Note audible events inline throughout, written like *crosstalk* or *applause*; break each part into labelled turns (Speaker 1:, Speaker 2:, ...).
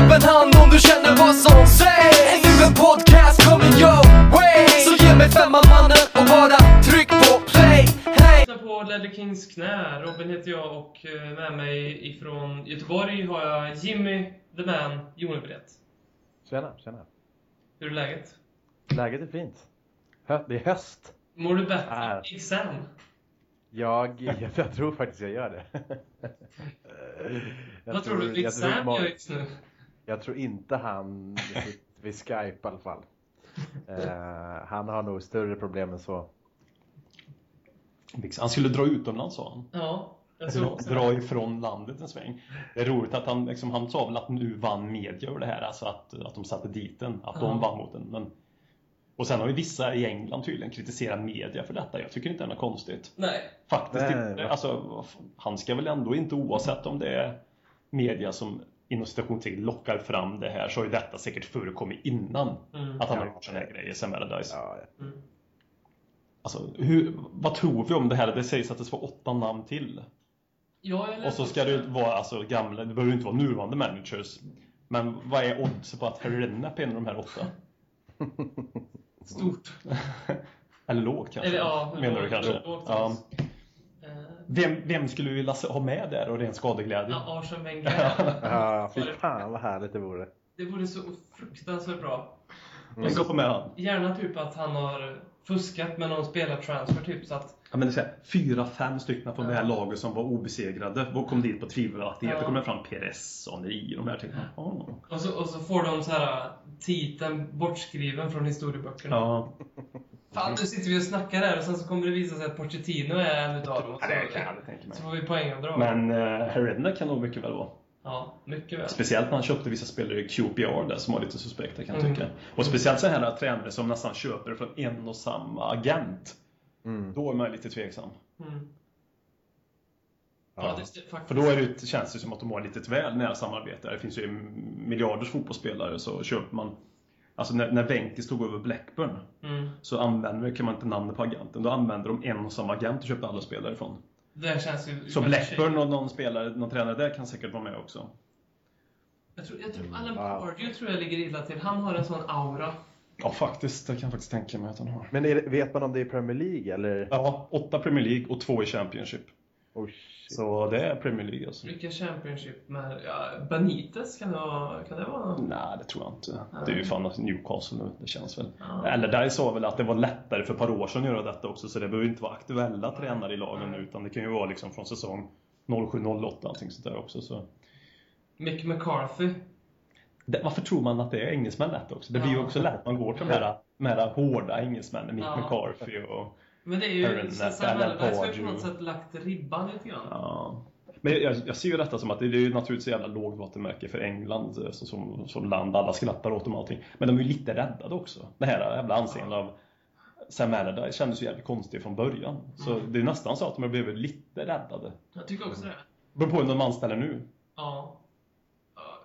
Speaker 1: öppen hand om du känner vad som sägs Ännu en podcast coming your way Så ge mig femman mannen och bara tryck på play hey.
Speaker 2: lyssnar på Ledley Kings knä. Robin heter jag och eh, med mig ifrån Göteborg har jag Jimmy, The Man, Jon Brett.
Speaker 3: Tjena, tjena.
Speaker 2: Hur är läget?
Speaker 3: Läget är fint. Hö- det är höst.
Speaker 2: Mår du bättre
Speaker 3: Ah.
Speaker 4: Äh.
Speaker 2: än exam?
Speaker 3: Jag, *laughs* jag, jag tror faktiskt jag gör det.
Speaker 2: *laughs*
Speaker 3: Jag
Speaker 2: Vad tror du
Speaker 3: jag tror
Speaker 2: exam
Speaker 3: ma-
Speaker 2: gör just nu?
Speaker 3: Jag tror inte han sitter vid Skype i
Speaker 2: *laughs*
Speaker 3: alla fall. Eh, han har nog större problem än så.
Speaker 4: Nix. liksom, Han skulle dra utomlands sa han.
Speaker 2: Ja, jag tror också
Speaker 4: Dra
Speaker 2: det.
Speaker 4: ifrån landet en sväng. Det är roligt att han, liksom, han sa väl att nu vann media över det här, alltså att, att de satte dit den, att
Speaker 2: Ja.
Speaker 4: de vann mot den. Men... Och sen har ju vissa i England tydligen kritiserat media för detta. Jag tycker inte det är något konstigt.
Speaker 2: Nej,
Speaker 4: Faktiskt
Speaker 3: Nej,
Speaker 4: inte.
Speaker 3: va?
Speaker 4: Alltså, vad fan, han ska väl ändå inte, oavsett om det är media som inom citationstecken lockar fram det här, så har ju detta säkert förekommit innan.
Speaker 2: Mm.
Speaker 4: Att han har
Speaker 3: Ja.
Speaker 4: gjort sådana här grejer sen Allardyce.
Speaker 3: Ja,
Speaker 2: mm.
Speaker 4: Alltså, hur, vad tror vi om det här? Det sägs att det ska vara åtta namn till.
Speaker 2: jag är
Speaker 4: Och så ska det ju vara alltså, gamla, det behöver ju inte vara nuvarande managers. Men vad är odds på att Harry Redknapp är en av de här åtta?
Speaker 2: stort.
Speaker 4: Eller lågt kanske?
Speaker 2: Eller ja,
Speaker 4: menar
Speaker 2: lågt-
Speaker 4: du kanske?
Speaker 2: lågt
Speaker 4: ja.
Speaker 2: odds. Eh,
Speaker 4: vem, vem skulle vi vilja se- ha med där och ren skadeglädje?
Speaker 2: Ja, Arsene Wenger.
Speaker 3: ja fy fan vad härligt det vore.
Speaker 2: Det vore så fruktansvärt bra.
Speaker 4: Vem ska få med han?
Speaker 2: Gärna typ att han har fuskat med någon spelartransfer typ så att
Speaker 4: Ja, men det är så här, fyra, fem stycken från
Speaker 2: Ja.
Speaker 4: det här laget som var obesegrade och kom dit på tvivelaktighet.
Speaker 2: Ja.
Speaker 4: Då kom det fram Perez och Henry och de här tyckte oh.
Speaker 2: och så, och så får de så här äh, titeln bortskriven från historieböckerna.
Speaker 4: Ja,
Speaker 2: Fan, nu sitter vi och snackar här och sen så kommer det visa sig att Pochettino är en utav dem. Och
Speaker 4: Ja, det kan jag
Speaker 2: så,
Speaker 4: aldrig tänka mig.
Speaker 2: så får vi poängavdrag.
Speaker 4: Men eh, Herrera kan nog mycket väl vara.
Speaker 2: Ja, mycket väl.
Speaker 4: Speciellt när han köpte vissa spelare i QPR där som var lite suspekta kan jag
Speaker 2: Mm.
Speaker 4: tycka. Och speciellt så här tränare som nästan köper från en och samma agent.
Speaker 3: Mm.
Speaker 4: Då är man lite tveksam.
Speaker 2: Mm. Ja,
Speaker 3: Ja.
Speaker 2: det, faktiskt.
Speaker 4: För då är det, känns det som att de har lite väl nära samarbete. Det finns ju miljarders fotbollsspelare så köper man... Alltså när, när Wenke stod över Blackburn
Speaker 2: Mm.
Speaker 4: så använder kan man inte namnet på agenten. Då använder de en och samma agent och köper alla spelare ifrån.
Speaker 2: Det känns ju...
Speaker 4: Så Blackburn och någon spelare, någon tränare där kan säkert vara med också.
Speaker 2: Jag tror, jag tror Alan
Speaker 3: Ja.
Speaker 2: Pardew tror jag ligger illa till. Han har en sån aura.
Speaker 4: Ja, faktiskt. Det kan jag faktiskt tänka mig att han har.
Speaker 3: Men är, det- vet man om det är Premier League eller?
Speaker 4: Ja, åtta Premier League och två i Championship.
Speaker 3: Oh, shit.
Speaker 4: Så det är Premier League alltså.
Speaker 2: Vilka Championship med... Ja, Benitez kan det vara... Kan det vara?
Speaker 4: Nej, det tror jag inte. Det är ju fan Newcastle nu, det känns väl.
Speaker 2: Ja.
Speaker 4: Eller där sa väl att det var lättare för ett par år sedan att göra detta också, så det behöver ju inte vara aktuella tränare i lagen nu, utan det kan ju vara liksom från säsong 07-08 någonting sånt där också. Så.
Speaker 2: Mick McCarthy.
Speaker 4: Det, varför tror man att det är engelsmän lätt också? Det blir ju
Speaker 2: Ja.
Speaker 4: också lätt, man går till de här, de här hårda engelsmännen, Mick
Speaker 2: Ja.
Speaker 4: McCarthy och...
Speaker 2: Men det är ju...
Speaker 4: Aaron
Speaker 2: Sam
Speaker 4: Alan
Speaker 2: Allardyce har ju på
Speaker 4: Pardew.
Speaker 2: något sätt lagt ribban lite grann.
Speaker 4: Ja. Men jag, jag ser ju detta som att det är ju naturligtvis ett jävla lågt vattenmärke för England eh, så, som, som land, alla skrattar åt dem och allting. Men de är ju lite räddade också. Det här jävla anseendet av Sam Allardyce kändes ju jävligt konstigt från början. Så det är nästan så att de har blivit lite räddade.
Speaker 2: Jag tycker också det.
Speaker 4: Beror på hur de anställer nu.
Speaker 2: Ja. Ja,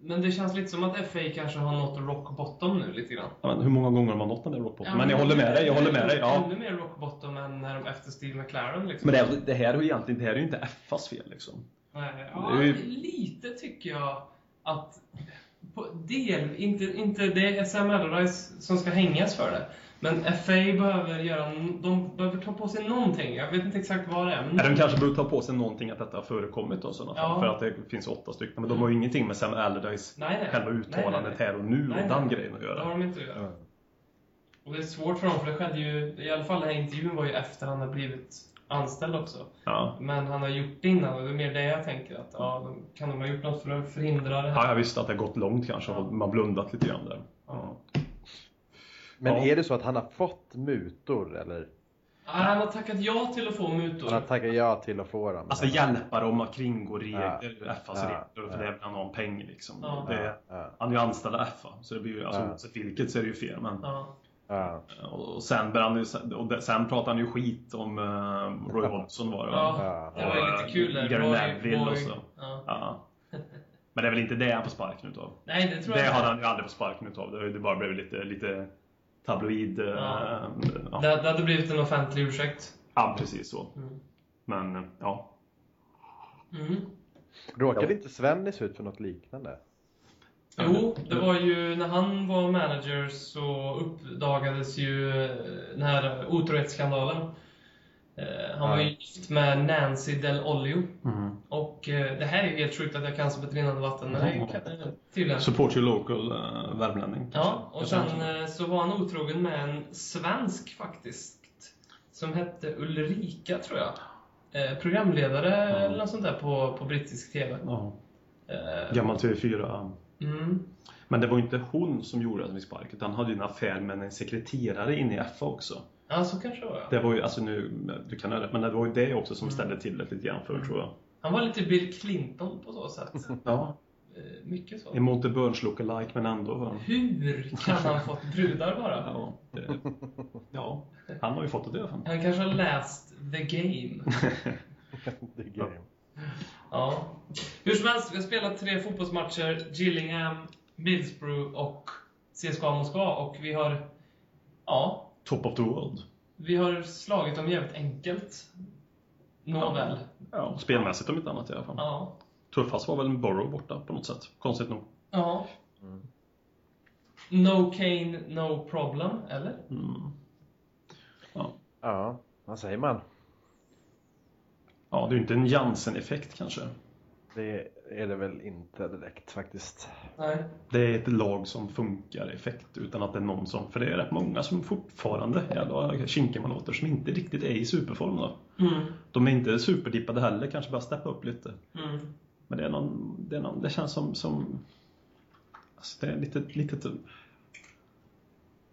Speaker 2: Men det känns lite som att FA kanske har nått rock bottom nu lite grann.
Speaker 4: Ja, men hur många gånger har man nått den där rockpoppen?
Speaker 2: Ja,
Speaker 4: men jag håller med dig, jag håller med dig. Ja.
Speaker 2: Ännu mer rock bottom än när de efter Steve McLaren liksom.
Speaker 4: Men det, det här är ju egentligen det här är ju inte FAs fel liksom.
Speaker 2: Nej,
Speaker 4: det
Speaker 2: ja,
Speaker 4: är ju-
Speaker 2: lite tycker jag att... På del, inte, inte det är Sam Allardyce som ska hängas för det. Men FA behöver göra... n- De behöver ta på sig någonting. Jag vet inte exakt vad det är. Men
Speaker 4: Nej, De kanske borde ta på sig någonting att detta har förekommit då, i sådana fall,
Speaker 2: Ja.
Speaker 4: för att det finns åtta stycken. Men de har ju ingenting med Sam Allardyce,
Speaker 2: Nej, nej.
Speaker 4: själva
Speaker 2: Nej,
Speaker 4: uttalandet
Speaker 2: nej, nej.
Speaker 4: här och nu
Speaker 2: Nej,
Speaker 4: och den
Speaker 2: nej.
Speaker 4: grejen att
Speaker 2: det
Speaker 4: göra.
Speaker 2: har de inte att göra.
Speaker 3: Ja.
Speaker 2: Och det är svårt för dem, för det skedde ju... I alla fall den här intervjun var ju efter han har blivit anställd också.
Speaker 4: Ja.
Speaker 2: Men han har gjort det innan och det är mer det jag tänker att ja, de- kan de ha gjort något för att förhindra det här?
Speaker 4: ja, jag visste att det har gått långt kanske och man blundat lite grann där.
Speaker 2: Ja.
Speaker 3: Men
Speaker 4: Ja.
Speaker 3: är det så att han har fått mutor eller?
Speaker 2: Ja, Han har tackat ja till att få mutor.
Speaker 3: Han har tackat ja till att få dem?
Speaker 4: Alltså hjälpa dem att kringgå regler,
Speaker 3: Ja.
Speaker 4: FAs
Speaker 3: Ja.
Speaker 4: regler, för det vill han ha en peng liksom.
Speaker 2: Ja.
Speaker 4: Det,
Speaker 3: Ja.
Speaker 4: han är ju anställd av FA, så det blir ju, alltså
Speaker 3: Ja.
Speaker 4: oavsett vilket så är det ju fel. Men,
Speaker 2: Ja.
Speaker 3: Ja.
Speaker 4: och, och sen, började han ju, och de- sen pratade han ju skit om
Speaker 3: *laughs*
Speaker 4: eh, Roy Hodgson var det va?
Speaker 2: Ja, det var ju lite kul. där.
Speaker 4: Gary
Speaker 2: Det var ju-
Speaker 4: Neville
Speaker 2: var ju-
Speaker 4: och så.
Speaker 2: Ja.
Speaker 4: Ja. Men det är väl inte det han får sparken utav?
Speaker 2: Nej, det tror
Speaker 4: Det
Speaker 2: jag
Speaker 4: har
Speaker 2: inte.
Speaker 4: han ju aldrig fått sparken utav. Det har ju bara blivit lite, lite tabloid... eh,
Speaker 2: Ja.
Speaker 4: Ja.
Speaker 2: Det, det hade blivit en offentlig ursäkt.
Speaker 4: ja, precis så.
Speaker 2: Mm.
Speaker 4: Men eh, ja.
Speaker 2: Mm.
Speaker 3: Råkade inte Svennis ut för något liknande?
Speaker 2: Jo, det var ju när han var manager så uppdagades ju eh, den här otrohetsskandalen. Eh, Han var ju gift med Nancy Del Olio.
Speaker 4: Mm.
Speaker 2: Och eh, det här är ju helt sjukt att jag kan som ett rinnande vatten, men det kan jag tydligen.
Speaker 4: Support your local uh, värmlänning. kanske.
Speaker 2: Ja, och sen eh, så var han otrogen med en svensk faktiskt. Som hette Ulrika, tror jag. Eh, Programledare eller något sånt där på, på brittisk TV.
Speaker 4: Ja,
Speaker 2: Eh,
Speaker 4: Gammal TV4.
Speaker 2: Mm.
Speaker 4: Men det var ju inte hon som gjorde att vi spark, utan han hade ju en affär med en sekreterare inne i FA också.
Speaker 2: Ja, så kanske det var. ja.
Speaker 4: Det var ju, alltså nu, du kan ha rätt, men det var ju det också
Speaker 2: Mm.
Speaker 4: som ställde till det lite grann för tror jag.
Speaker 2: Han var lite Bill Clinton på så sätt.
Speaker 4: *laughs* Ja,
Speaker 2: Eh, Mycket så.
Speaker 4: en Monte Burns lookalike men *laughs* ändå.
Speaker 2: Hur kan han fått brudar bara?
Speaker 4: *laughs* Ja, det, ja, han har ju fått det i alla fall.
Speaker 2: Han kanske har läst The
Speaker 4: *laughs*
Speaker 2: Game.
Speaker 3: The game.
Speaker 2: Ja. Hur som helst, vi har spelat tre fotbollsmatcher. Gillingham, Middlesbrough och CSKA Moskva. Och vi har... Ja,
Speaker 4: Top of the world.
Speaker 2: vi har slagit dem jävligt enkelt. Nåväl.
Speaker 4: Ja, spelmässigt om inte annat i alla fall.
Speaker 2: Ja.
Speaker 4: Tuffast var väl en Borough borta på något sätt, konstigt nog.
Speaker 2: Ja. Mm. No Kane, no problem, eller?
Speaker 4: Mm. Ja.
Speaker 3: Ja, vad säger man?
Speaker 4: ja, det är ju inte en Jansen-effekt kanske.
Speaker 3: Det är det väl inte direkt faktiskt.
Speaker 2: Nej.
Speaker 4: Det är ett lag som funkar i effekt utan att det är någon som, för det är rätt många som fortfarande, jävla kinkar man åter, som inte riktigt är i superform då.
Speaker 2: Mm.
Speaker 4: De är inte superdippade heller, kanske bara steppa upp lite.
Speaker 2: Mm.
Speaker 4: Men det är någon, det, är någon, det känns som, som alltså det är lite, lite typ-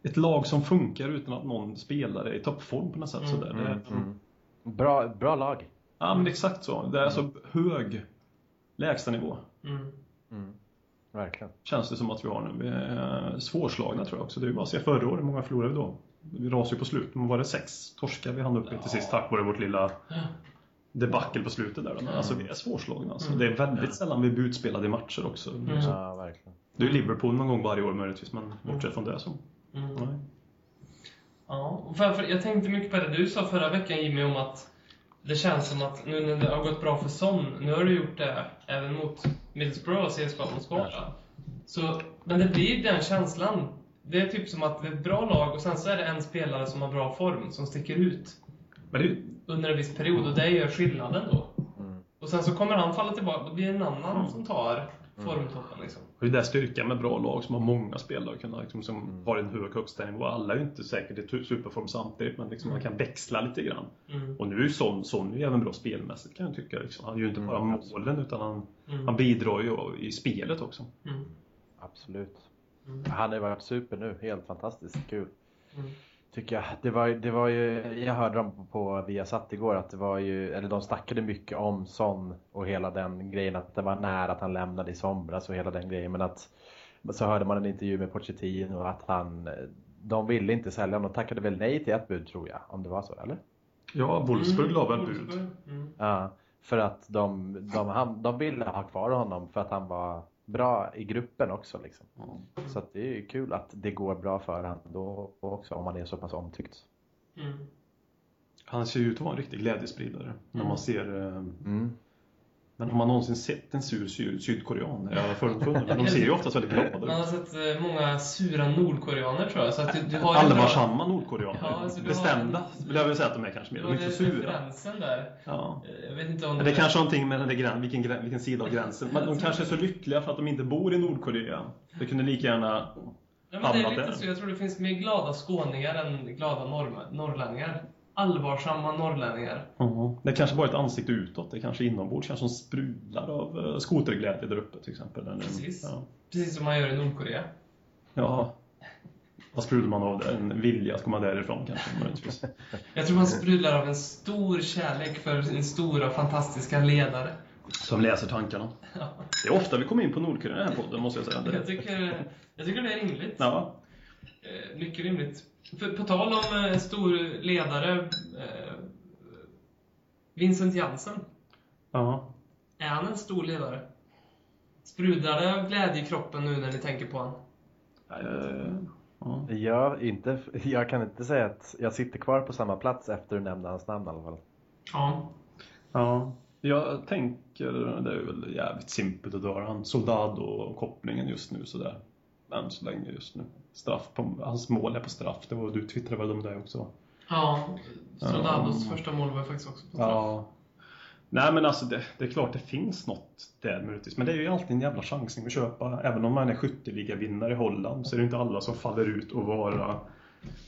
Speaker 4: ett lag som funkar utan att någon spelare är i toppform på något sätt. Sådär. Det,
Speaker 3: mm.
Speaker 4: är-
Speaker 3: Bra, bra lag.
Speaker 4: Ja men exakt så. Det är alltså hög lägstanivå.
Speaker 2: Mm.
Speaker 3: Verkligen.
Speaker 4: Känns det som att vi har nu. Vi är eh, svårslagna tror jag också. Det är ju bara att se förra året, hur många förlorade vi då? Vi rasade ju på slut, men var det sex torskar vi hann upp i till sist tack vare vårt lilla debacle på slutet där. då. Men alltså vi är svårslagna. Alltså. Det är väldigt sällan vi blir utspelade i matcher också.
Speaker 3: Ja, verkligen.
Speaker 4: Det är ju Liverpool någon gång varje år möjligtvis, men bortsett från det så.
Speaker 2: Mm.
Speaker 4: Nej.
Speaker 2: Ja, och för, för jag tänkte mycket på det du sa förra veckan Jimmy om att det känns som att nu när det har gått bra för Son, nu har du gjort det även mot Middlesbrough och CSKA Moskva. Så, men det blir den känslan. Det är typ som att det är ett bra lag och sen så är det en spelare som har bra form, som sticker ut
Speaker 4: Men det är ju
Speaker 2: under en viss period och det gör skillnaden då. Och sen så kommer han falla tillbaka, det blir en annan som tar formtoppen liksom.
Speaker 4: och det där styrkan med bra lag som har många spelare kunna, liksom, som har en hög högstanivå. Alla är ju inte säkert i tu- superform samtidigt, men liksom, man kan växla lite grann.
Speaker 2: Mm.
Speaker 4: Och nu är ju Son, Son är ju även bra spelmässigt kan jag tycka. Liksom. Han gör ju inte bara målen, utan han,
Speaker 2: Mm.
Speaker 4: han bidrar ju i spelet också.
Speaker 2: Mm.
Speaker 3: Absolut. Han har ju varit super nu. Helt fantastiskt kul.
Speaker 2: Mm.
Speaker 3: Tycker jag. Det var, det var ju, jag hörde dem på Viasat igår att det var ju, eller de snackade mycket om Son och hela den grejen att det var nära att han lämnade i somras och hela den grejen men att så hörde man en intervju med Pochettino och att han, de ville inte sälja honom, de tackade väl nej till ett bud tror jag, om det var så eller?
Speaker 4: Ja, Wolfsburg la väl bud.
Speaker 2: Wolfsburg. Mm.
Speaker 3: Ja, för att de, de, han, de ville ha kvar honom för att han var bra i gruppen också liksom. Så att det är ju kul att det går bra för honom då också om han är så pass omtyckt.
Speaker 2: Mm.
Speaker 4: Han ser ju ut att vara en riktig glädjespridare. När man ser, eh,
Speaker 3: Mm.
Speaker 4: men har man någonsin sett en sur syd- sydkorean? Jag har fördomsfull, men de ser ju oftast väldigt glada ut.
Speaker 2: Man har sett eh, många sura nordkoreaner tror jag. Så att du, du har ju bra-
Speaker 4: Allvarsamma nordkoreaner.
Speaker 2: Ja, alltså, du har-
Speaker 4: Bestämda vill jag väl säga att de är kanske. Mer.
Speaker 2: du
Speaker 4: De är
Speaker 2: har
Speaker 4: inte så
Speaker 2: den
Speaker 4: sura.
Speaker 2: referensen där.
Speaker 4: Ja.
Speaker 2: Eh, Jag vet inte om
Speaker 4: Men Det är kanske någonting med den där grän, vilken, grän, vilken sida av gränsen. Men de kanske är så lyckliga för att de inte bor i Nordkorea. Det kunde lika gärna...
Speaker 2: ja, men det är
Speaker 4: hamnat
Speaker 2: lite
Speaker 4: där.
Speaker 2: så. Jag tror det finns mer glada skåningar än glada norr, norrlänningar. Allvarsamma norrlänningar.
Speaker 4: Det kanske bara är ett ansikte utåt. Det kanske inombords kanske de sprudlar av eh, skoterglädje där uppe till exempel. Eller-
Speaker 2: Precis.
Speaker 4: Ja.
Speaker 2: Precis som man gör i Nordkorea.
Speaker 4: ja. Vad sprudlar man av? det? En vilja att komma därifrån kanske möjligtvis.
Speaker 2: Jag tror man sprudlar av en stor kärlek för sin stora fantastiska ledare.
Speaker 4: Som läser tankarna. Det är ofta vi kommer in på Nordkorea i den här podden måste jag säga.
Speaker 2: Jag
Speaker 4: Det-
Speaker 2: tycker, jag tycker det är rimligt.
Speaker 4: Ja.
Speaker 2: Eh, Mycket rimligt. För, på tal om eh, stor ledare, eh, Vincent Jansen.
Speaker 4: ja.
Speaker 2: Är han en stor ledare? Sprudlar det av glädje i kroppen nu när ni tänker på honom?
Speaker 4: Eh, ja.
Speaker 3: Jag, inte, jag kan inte säga att jag sitter kvar på samma plats efter du nämnde hans namn i alla fall.
Speaker 2: Ja.
Speaker 4: Ja. Jag tänker, det är väl jävligt simpelt att dra han. Soldado-kopplingen just nu sådär. Än så länge just nu. Straff på, hans mål är på straff. Det var, du twittrade väl om det också? Va?
Speaker 2: Ja, Stradados
Speaker 4: Ja.
Speaker 2: första mål var ju faktiskt också på straff.
Speaker 4: Ja. Nej men alltså det, det är klart det finns något där möjligtvis. Men det är ju alltid en jävla chansning att köpa. Även om man är skytteligavinnare i Holland så är det inte alla som faller ut och vara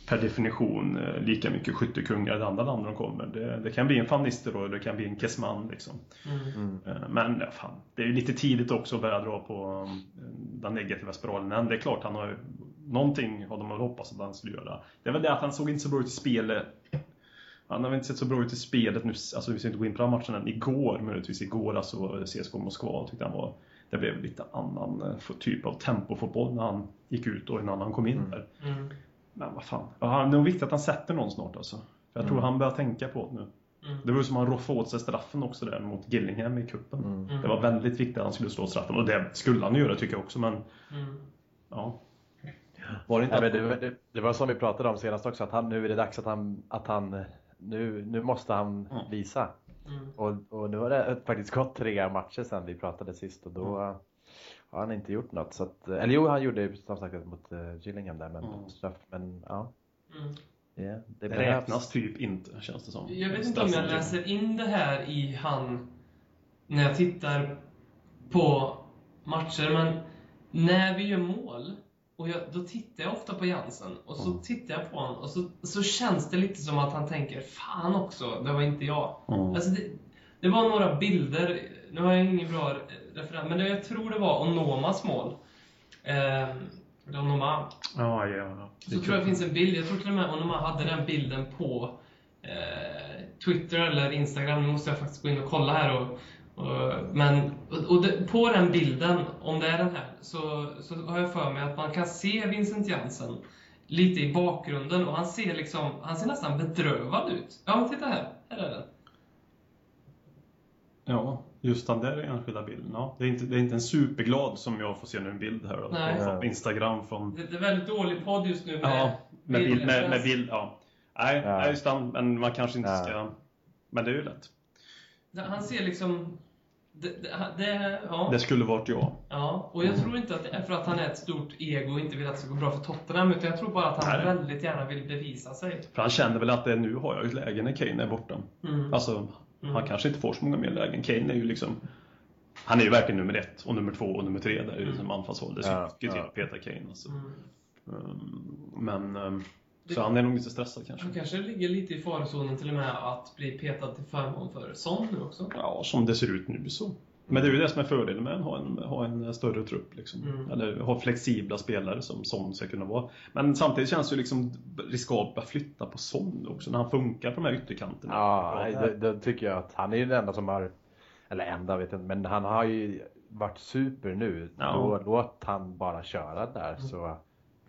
Speaker 4: per definition eh, lika mycket skyttekungar i det andra landet de kommer. Det, det kan bli en van Nistelrooy, det kan bli en Kessman liksom.
Speaker 2: Mm.
Speaker 4: Eh, Men ja, fan, det är ju lite tidigt också att börja dra på eh, den negativa spiralen. Men det är klart, han har ju, någonting har de väl hoppats att han skulle göra. Det är väl det att han såg inte så bra ut i spelet. Han har väl inte sett så bra ut i spelet nu, alltså vi ska inte gå in på den matchen än. Igår, möjligtvis igår, alltså CSKA Moskva tyckte han var det blev lite annan eh, f- typ av tempofotboll när han gick ut och innan han kom in där.
Speaker 2: Mm.
Speaker 4: Men vad fan. Ja, han- det är nog viktigt att han sätter någon snart alltså. För jag tror han börjar tänka på det nu.
Speaker 2: Mm.
Speaker 4: Det var ju som han roffade åt sig straffen också där mot Gillingham i cupen.
Speaker 2: Mm.
Speaker 4: Det var väldigt viktigt att han skulle slå straffen och det skulle han ju göra tycker jag också men
Speaker 2: Mm.
Speaker 4: ja.
Speaker 3: Var det, inte, men det, det, det var som vi pratade om senast också, att han, nu är det dags att han, att han nu, nu måste han
Speaker 4: Mm.
Speaker 3: visa.
Speaker 2: Mm.
Speaker 3: Och, och nu har det faktiskt gått tre matcher sedan vi pratade sist och då
Speaker 4: Mm.
Speaker 3: har han inte gjort något. Så att, eller jo, han gjorde ju som sagt mot eh, Gillingham där, men
Speaker 4: Mm.
Speaker 3: straff. Men ja,
Speaker 2: Mm.
Speaker 3: det, det
Speaker 4: Det
Speaker 3: behövs.
Speaker 4: räknas typ inte känns det som.
Speaker 2: Jag vet inte om jag läser in det här i han när jag tittar på matcher, men när vi gör mål, och jag, då tittar jag ofta på Jansen, och så tittar jag på honom, och så, så känns det lite som att han tänker Fan också, det var inte jag.
Speaker 4: Mm.
Speaker 2: Alltså det, det var några bilder, nu har jag ingen bra eh, referens, men det, jag tror det var Onomas mål. Eh, Onoma.
Speaker 4: Ja, ja, ja.
Speaker 2: Så tror jag det finns en bild, jag tror till och med Onoma hade den bilden på eh, Twitter eller Instagram, nu måste jag faktiskt gå in och kolla här. Och, och, men och, och det, på den bilden, om det är den här, så, så har jag för mig att man kan se Vincent Jansen lite i bakgrunden och han ser liksom, han ser nästan bedrövad ut. Ja, men titta här, här är den.
Speaker 4: Ja, just den där enskilda bilden. Ja. Det, är inte, det är inte en superglad som jag får se nu en bild här då,
Speaker 2: Nej.
Speaker 4: på- från Instagram från
Speaker 2: Det, det är väldigt dålig podd just nu med,
Speaker 4: Ja, med bild. Med, med
Speaker 2: bildreferens.
Speaker 4: bild ja. Nej,
Speaker 3: Ja.
Speaker 4: nej, just den, men man kanske inte
Speaker 3: Ja.
Speaker 4: ska... Men det är ju lätt.
Speaker 2: Det- Han ser liksom... Det, det, han- det, ja.
Speaker 4: Det skulle varit jag.
Speaker 2: ja, och jag tror inte att det är för att han är ett stort ego och inte vill att det ska gå bra för Tottenham, utan jag tror bara att han
Speaker 4: Nej.
Speaker 2: väldigt gärna vill bevisa sig.
Speaker 4: För han känner väl att det, nu har jag ju ett läge när Kane är borta.
Speaker 2: Mm.
Speaker 4: Alltså, han kanske inte får så många mer lägen. Kane är ju liksom... Han är ju verkligen nummer ett och nummer två och nummer tre där i liksom anfallshåll. Det
Speaker 3: Ja,
Speaker 4: ska ju till
Speaker 3: ja.
Speaker 4: att peta Kane alltså.
Speaker 2: Mm.
Speaker 4: Um, Men... um,
Speaker 2: Det-
Speaker 4: Så han är nog lite stressad kanske.
Speaker 2: Han kanske ligger lite i farozonen till och med att bli petad till förmån för Son nu också.
Speaker 4: Ja, som det ser ut nu så. Men det är ju det som är fördelen med att ha en, ha en större trupp. Liksom.
Speaker 2: Mm.
Speaker 4: Eller ha flexibla spelare som Son ska kunna vara. Men samtidigt känns det ju liksom riskabelt att flytta på Son också när han funkar på de här ytterkanterna.
Speaker 3: Ja,
Speaker 4: Bra
Speaker 3: nej,
Speaker 4: där.
Speaker 3: då, då tycker jag att han är ju den enda som har, eller enda vet jag inte, men han har ju varit super nu.
Speaker 4: Ja. Mm.
Speaker 3: Då, låt han bara köra där så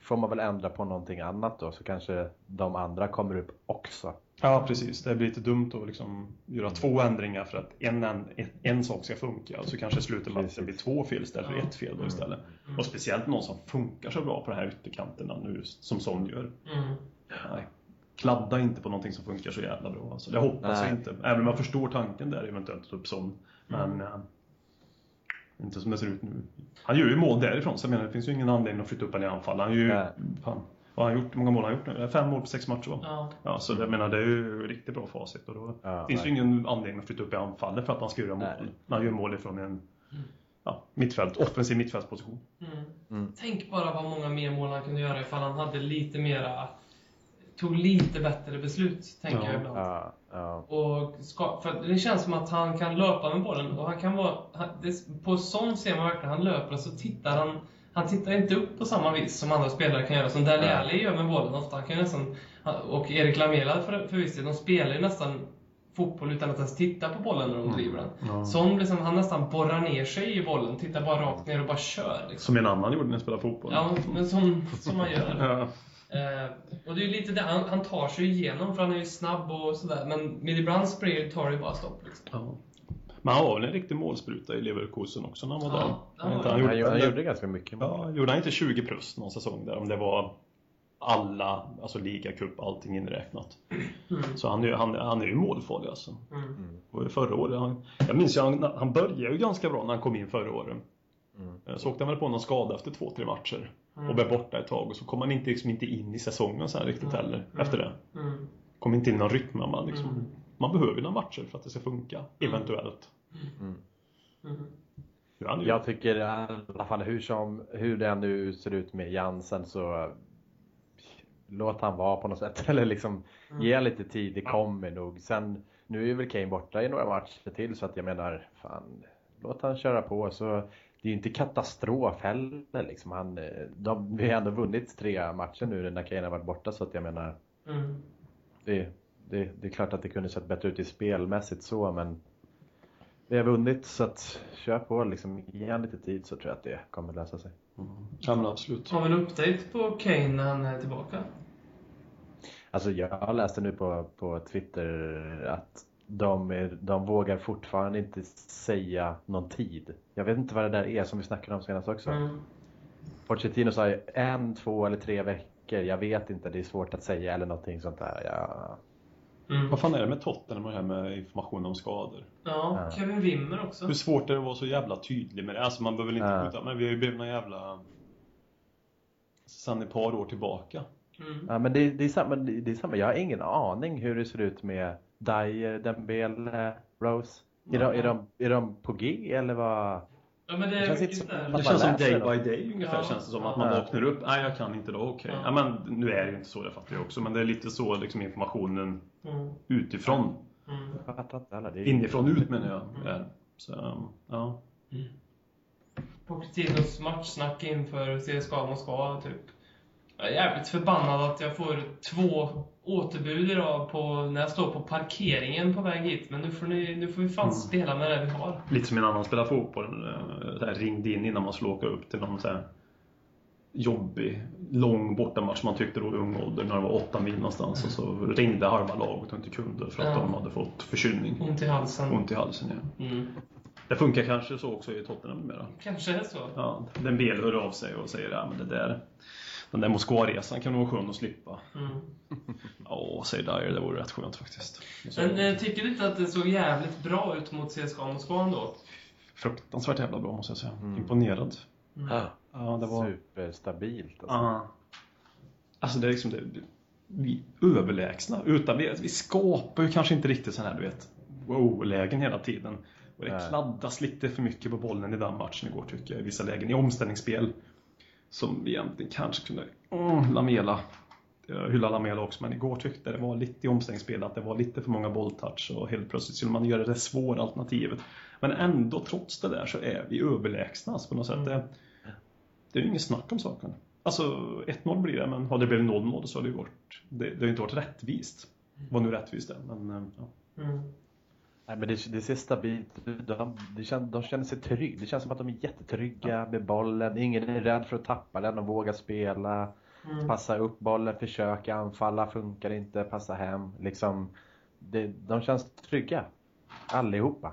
Speaker 3: får man väl ändra på någonting annat då så kanske de andra kommer upp också.
Speaker 4: Ja, precis. Det blir lite dumt att liksom göra två ändringar för att en, en, en sak ska funka. Så kanske slutar med att det blir två fel istället för ett fel då istället. Och speciellt någon som funkar så bra på de här ytterkanterna nu, som Son gör.
Speaker 2: Mm.
Speaker 4: Nej. Kladda inte på någonting som funkar så jävla bra. Alltså, det hoppas
Speaker 3: Nej.
Speaker 4: jag inte. Även om jag förstår tanken där eventuellt, typ sån. Men
Speaker 3: Mm.
Speaker 4: eh, inte som det ser ut nu. Han gör ju mål därifrån, så jag menar, det finns ju ingen anledning att flytta upp honom i anfall. Han gör ju,
Speaker 3: Nej.
Speaker 4: fan, vad har han gjort? Hur många mål har han gjort nu? Det är Fem mål på sex matcher va?
Speaker 2: Ja.
Speaker 4: Ja, så jag menar, det är ju riktigt bra facit. Och då
Speaker 3: Ja,
Speaker 4: finns det ju ingen anledning att flytta upp i anfallet för att han ska göra mål.
Speaker 3: Nej. Mm.
Speaker 4: När han gör mål ifrån en ja, mittfält, offensiv mittfältsposition.
Speaker 2: Mm. Tänk bara vad många mer mål han kunde göra ifall han hade lite mera... Tog lite bättre beslut, tänker
Speaker 4: Ja.
Speaker 2: jag ibland.
Speaker 3: Ja, ja.
Speaker 2: Och ska, för att det känns som att han kan löpa med bollen och han kan vara... Han, det, på sån ser man verkligen, han löper och så tittar han... Han tittar inte upp på samma vis som andra spelare kan göra, som Dele
Speaker 3: Nej.
Speaker 2: Alli gör med bollen ofta. Han kan ju nästan, han- och Erik Lamela för, förvisso, de spelar ju nästan fotboll utan att ens titta på bollen när de driver den.
Speaker 4: Mm. Ja.
Speaker 2: Sån liksom, han nästan borrar ner sig i bollen, tittar bara rakt ner och bara kör. Liksom.
Speaker 4: Som en annan gjorde när jag spelade fotboll.
Speaker 2: Ja, men som, som man gör.
Speaker 4: Ja.
Speaker 2: Eh, och det är ju lite det, han, han tar sig igenom för han är ju snabb och sådär. Men med ibland springer tar det ju bara stopp liksom.
Speaker 4: Ja. Men han var väl en riktig målspruta i Leverkusen också när han var
Speaker 2: Ja,
Speaker 4: där?
Speaker 2: han
Speaker 4: Inte
Speaker 2: var-
Speaker 3: Han,
Speaker 4: han
Speaker 3: gjorde,
Speaker 4: gjorde,
Speaker 3: han gjorde ganska mycket mål.
Speaker 4: ja, gjorde han inte 20 plus någon säsong där? Om det var alla, alltså ligacup, allting inräknat. Så han är, ju- han, han är ju målfarlig alltså.
Speaker 2: Mm.
Speaker 4: Var det förra året? Han, jag minns ju, han, han började ju ganska bra när han kom in förra året.
Speaker 3: Mm.
Speaker 4: Eh, Så åkte han väl på någon skada efter två, tre matcher och blev borta ett tag och så kom han inte, liksom, inte in i säsongen sen riktigt
Speaker 2: Mm.
Speaker 4: heller
Speaker 2: Mm.
Speaker 4: efter det.
Speaker 2: Mm.
Speaker 4: Kom inte in i någon rytm. Man, liksom,
Speaker 2: Mm.
Speaker 4: man behöver ju några matcher för att det ska funka, eventuellt.
Speaker 3: Mm.
Speaker 2: Mm.
Speaker 4: Nu är han ju
Speaker 3: Jag tycker i alla fall hur, som, hur det nu ser ut med Jansen så låt han vara på något sätt. *laughs* Eller liksom ge lite tid, det kommer nog. Sen, nu är ju väl Kane borta i några matcher till så att jag menar, fan, låt han köra på. Så det är ju inte katastrof heller. Liksom. Han, eh, de, vi har ändå vunnit tre matcher nu när Kane har varit borta så att jag menar,
Speaker 2: Mm.
Speaker 3: det, det, det är klart att det kunde sett bättre ut i spelmässigt så men vi har vunnit så att kör på liksom. Ge han lite tid så tror jag att det kommer lösa sig.
Speaker 4: Ja men absolut.
Speaker 2: Har vi en update på Kane när han är tillbaka?
Speaker 3: Alltså jag läste nu på, på Twitter att de, är, de vågar fortfarande inte säga någon tid. Jag vet inte vad det där är som vi snackade om senast också.
Speaker 2: Mm.
Speaker 3: Pochettino sa ju en, två eller tre veckor. Jag vet inte, det är svårt att säga eller någonting sånt där. Ja.
Speaker 2: Mm.
Speaker 4: Vad fan är det med Tottenham och det här med information om skador?
Speaker 2: Ja, Kevin Wimmer också.
Speaker 4: Hur svårt är det att vara så jävla tydlig med det? Alltså man behöver väl inte
Speaker 3: Ja.
Speaker 4: skjuta, men vi har ju blivit någon jävla... Sen ett par år tillbaka.
Speaker 2: Mm.
Speaker 3: Ja, men det, det, är samma, det det är samma. Jag har ingen aning hur det ser ut med Dyer, Dembele, Rose. Är, de, är, de, är de på G eller vad?
Speaker 2: Ja, men det
Speaker 3: Det
Speaker 2: är
Speaker 3: känns
Speaker 2: mycket
Speaker 3: inte som-
Speaker 2: där.
Speaker 4: Det
Speaker 3: man
Speaker 4: känns som day
Speaker 3: läser
Speaker 4: by day ungefär
Speaker 2: Ja.
Speaker 4: känns det som. Att man
Speaker 3: Ja.
Speaker 4: vaknar upp. Nej, jag kan inte då. Okej.
Speaker 2: Ja.
Speaker 4: Ja. men nu är det ju inte så, det fattar jag också. Men det är lite så liksom informationen
Speaker 2: Mm.
Speaker 4: utifrån.
Speaker 2: Mm.
Speaker 3: Jag fattar inte heller. Det är-
Speaker 4: Inifrån ut menar jag. är. Så, um, ja.
Speaker 2: Pochettinos matchsnack inför CSKA Moskva, typ. Jag är jävligt förbannad att jag får två återbud idag på, när jag står på parkeringen på väg hit. Men nu får, ni, nu får vi fan spela med det vi har.
Speaker 4: Lite som en annan spelar fotboll. eh, Så här, ringde in innan man skulle åka upp till någon så här jobbig, lång bortamatch man tyckte då i ung ålder när det var åtta mil någonstans och så ringde halva laget och inte kunde för att
Speaker 2: Ja.
Speaker 4: de hade fått förkylning.
Speaker 2: Ont i halsen.
Speaker 4: Ont i halsen ja.
Speaker 2: Mm.
Speaker 4: Det funkar kanske så också i Tottenham numera.
Speaker 2: Kanske är det så.
Speaker 4: Ja, den bel hör av sig och säger att men det där, den där Moskvaresan kan nog vara skön att slippa.
Speaker 2: Mm.
Speaker 4: *laughs* Ja, säger Dyer, det vore rätt skönt faktiskt. Så,
Speaker 2: Men eh, tycker du inte att det såg jävligt bra ut mot CSKA Moskva ändå?
Speaker 4: fruktansvärt jävla bra måste jag säga. Imponerad.
Speaker 3: Ah,
Speaker 4: Mm. Ja, det var...
Speaker 3: Superstabilt. Alltså.
Speaker 4: Ja. Alltså det är liksom det, vi är överlägsna. Utan vi, vi skapar ju kanske inte riktigt sån här du vet wow-lägen hela tiden. Och det
Speaker 3: Nej.
Speaker 4: kladdas lite för mycket på bollen i den matchen igår tycker jag i vissa lägen i omställningsspel. Som vi egentligen kanske kunde, mm, Lamela. Jag hyllar Lamela också men igår tyckte jag det var lite i omställningsspel att det var lite för många bolltouch och helt plötsligt skulle man göra det svåra alternativet. Men ändå trots det där så är vi överlägsna alltså, på något sätt.
Speaker 3: Mm.
Speaker 4: Det, det är ju inget snack om saken. Alltså 1-0 blir det, men hade det blivit 0-0 så hade det ju varit... Det, det har ju inte varit rättvist. Vad nu rättvist är, men... eh, Ja.
Speaker 2: Mm.
Speaker 3: Nej, men det, det ser stabilt ut. De, det kän, de känner sig trygga. Det känns som att de är jättetrygga med bollen. Ingen är rädd för att tappa den. De vågar spela.
Speaker 4: Mm.
Speaker 3: Passa upp bollen, försöka anfalla. Funkar inte, passa hem. Liksom, det, de känns trygga. Allihopa.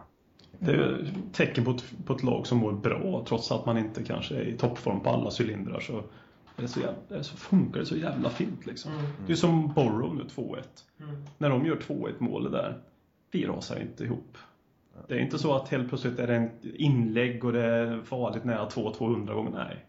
Speaker 4: Det är ju tecken på ett, på ett lag som mår bra, trots att man inte kanske är i toppform på alla cylindrar. Så, det är så, jävla, det är så funkar det så jävla fint liksom.
Speaker 2: Mm.
Speaker 4: Det är ju som Borough nu, 2-1.
Speaker 2: Mm.
Speaker 4: När de gör 2-1 målet där, vi rasar inte ihop. Det är inte så att helt plötsligt är det en inlägg och det är farligt nära 2-200 gånger. Nej.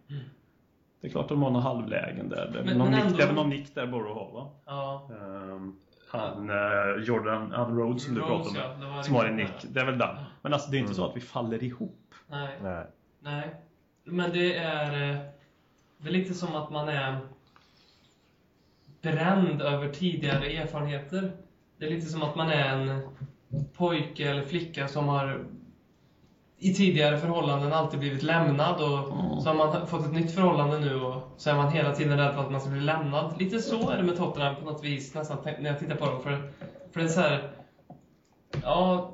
Speaker 4: Det är klart att de har några halvlägen där. Det är
Speaker 2: Mm. Men-
Speaker 4: någon,
Speaker 2: men
Speaker 4: nick,
Speaker 2: ändå-
Speaker 4: det är väl någon nick där Borough har va?
Speaker 2: Ja.
Speaker 4: Ehm, han, eh, Jordan han Rhodes som du
Speaker 2: Rhodes,
Speaker 4: pratade
Speaker 2: ja,
Speaker 4: om.
Speaker 2: det var
Speaker 4: som har en
Speaker 2: riktigt
Speaker 4: nick. Det är väl den. Men alltså det är inte så att vi faller ihop.
Speaker 2: Nej.
Speaker 3: Nej.
Speaker 2: Nej, men det är, eh, det är lite som att man är bränd över tidigare erfarenheter. Det är lite som att man är en pojke eller flicka som har i tidigare förhållanden alltid blivit lämnad och så har man fått ett nytt förhållande nu och så är man hela tiden rädd för att man ska bli lämnad. Lite så är det med Tottenham på något vis nästan när jag tittar på dem. För, för det är så här, ja,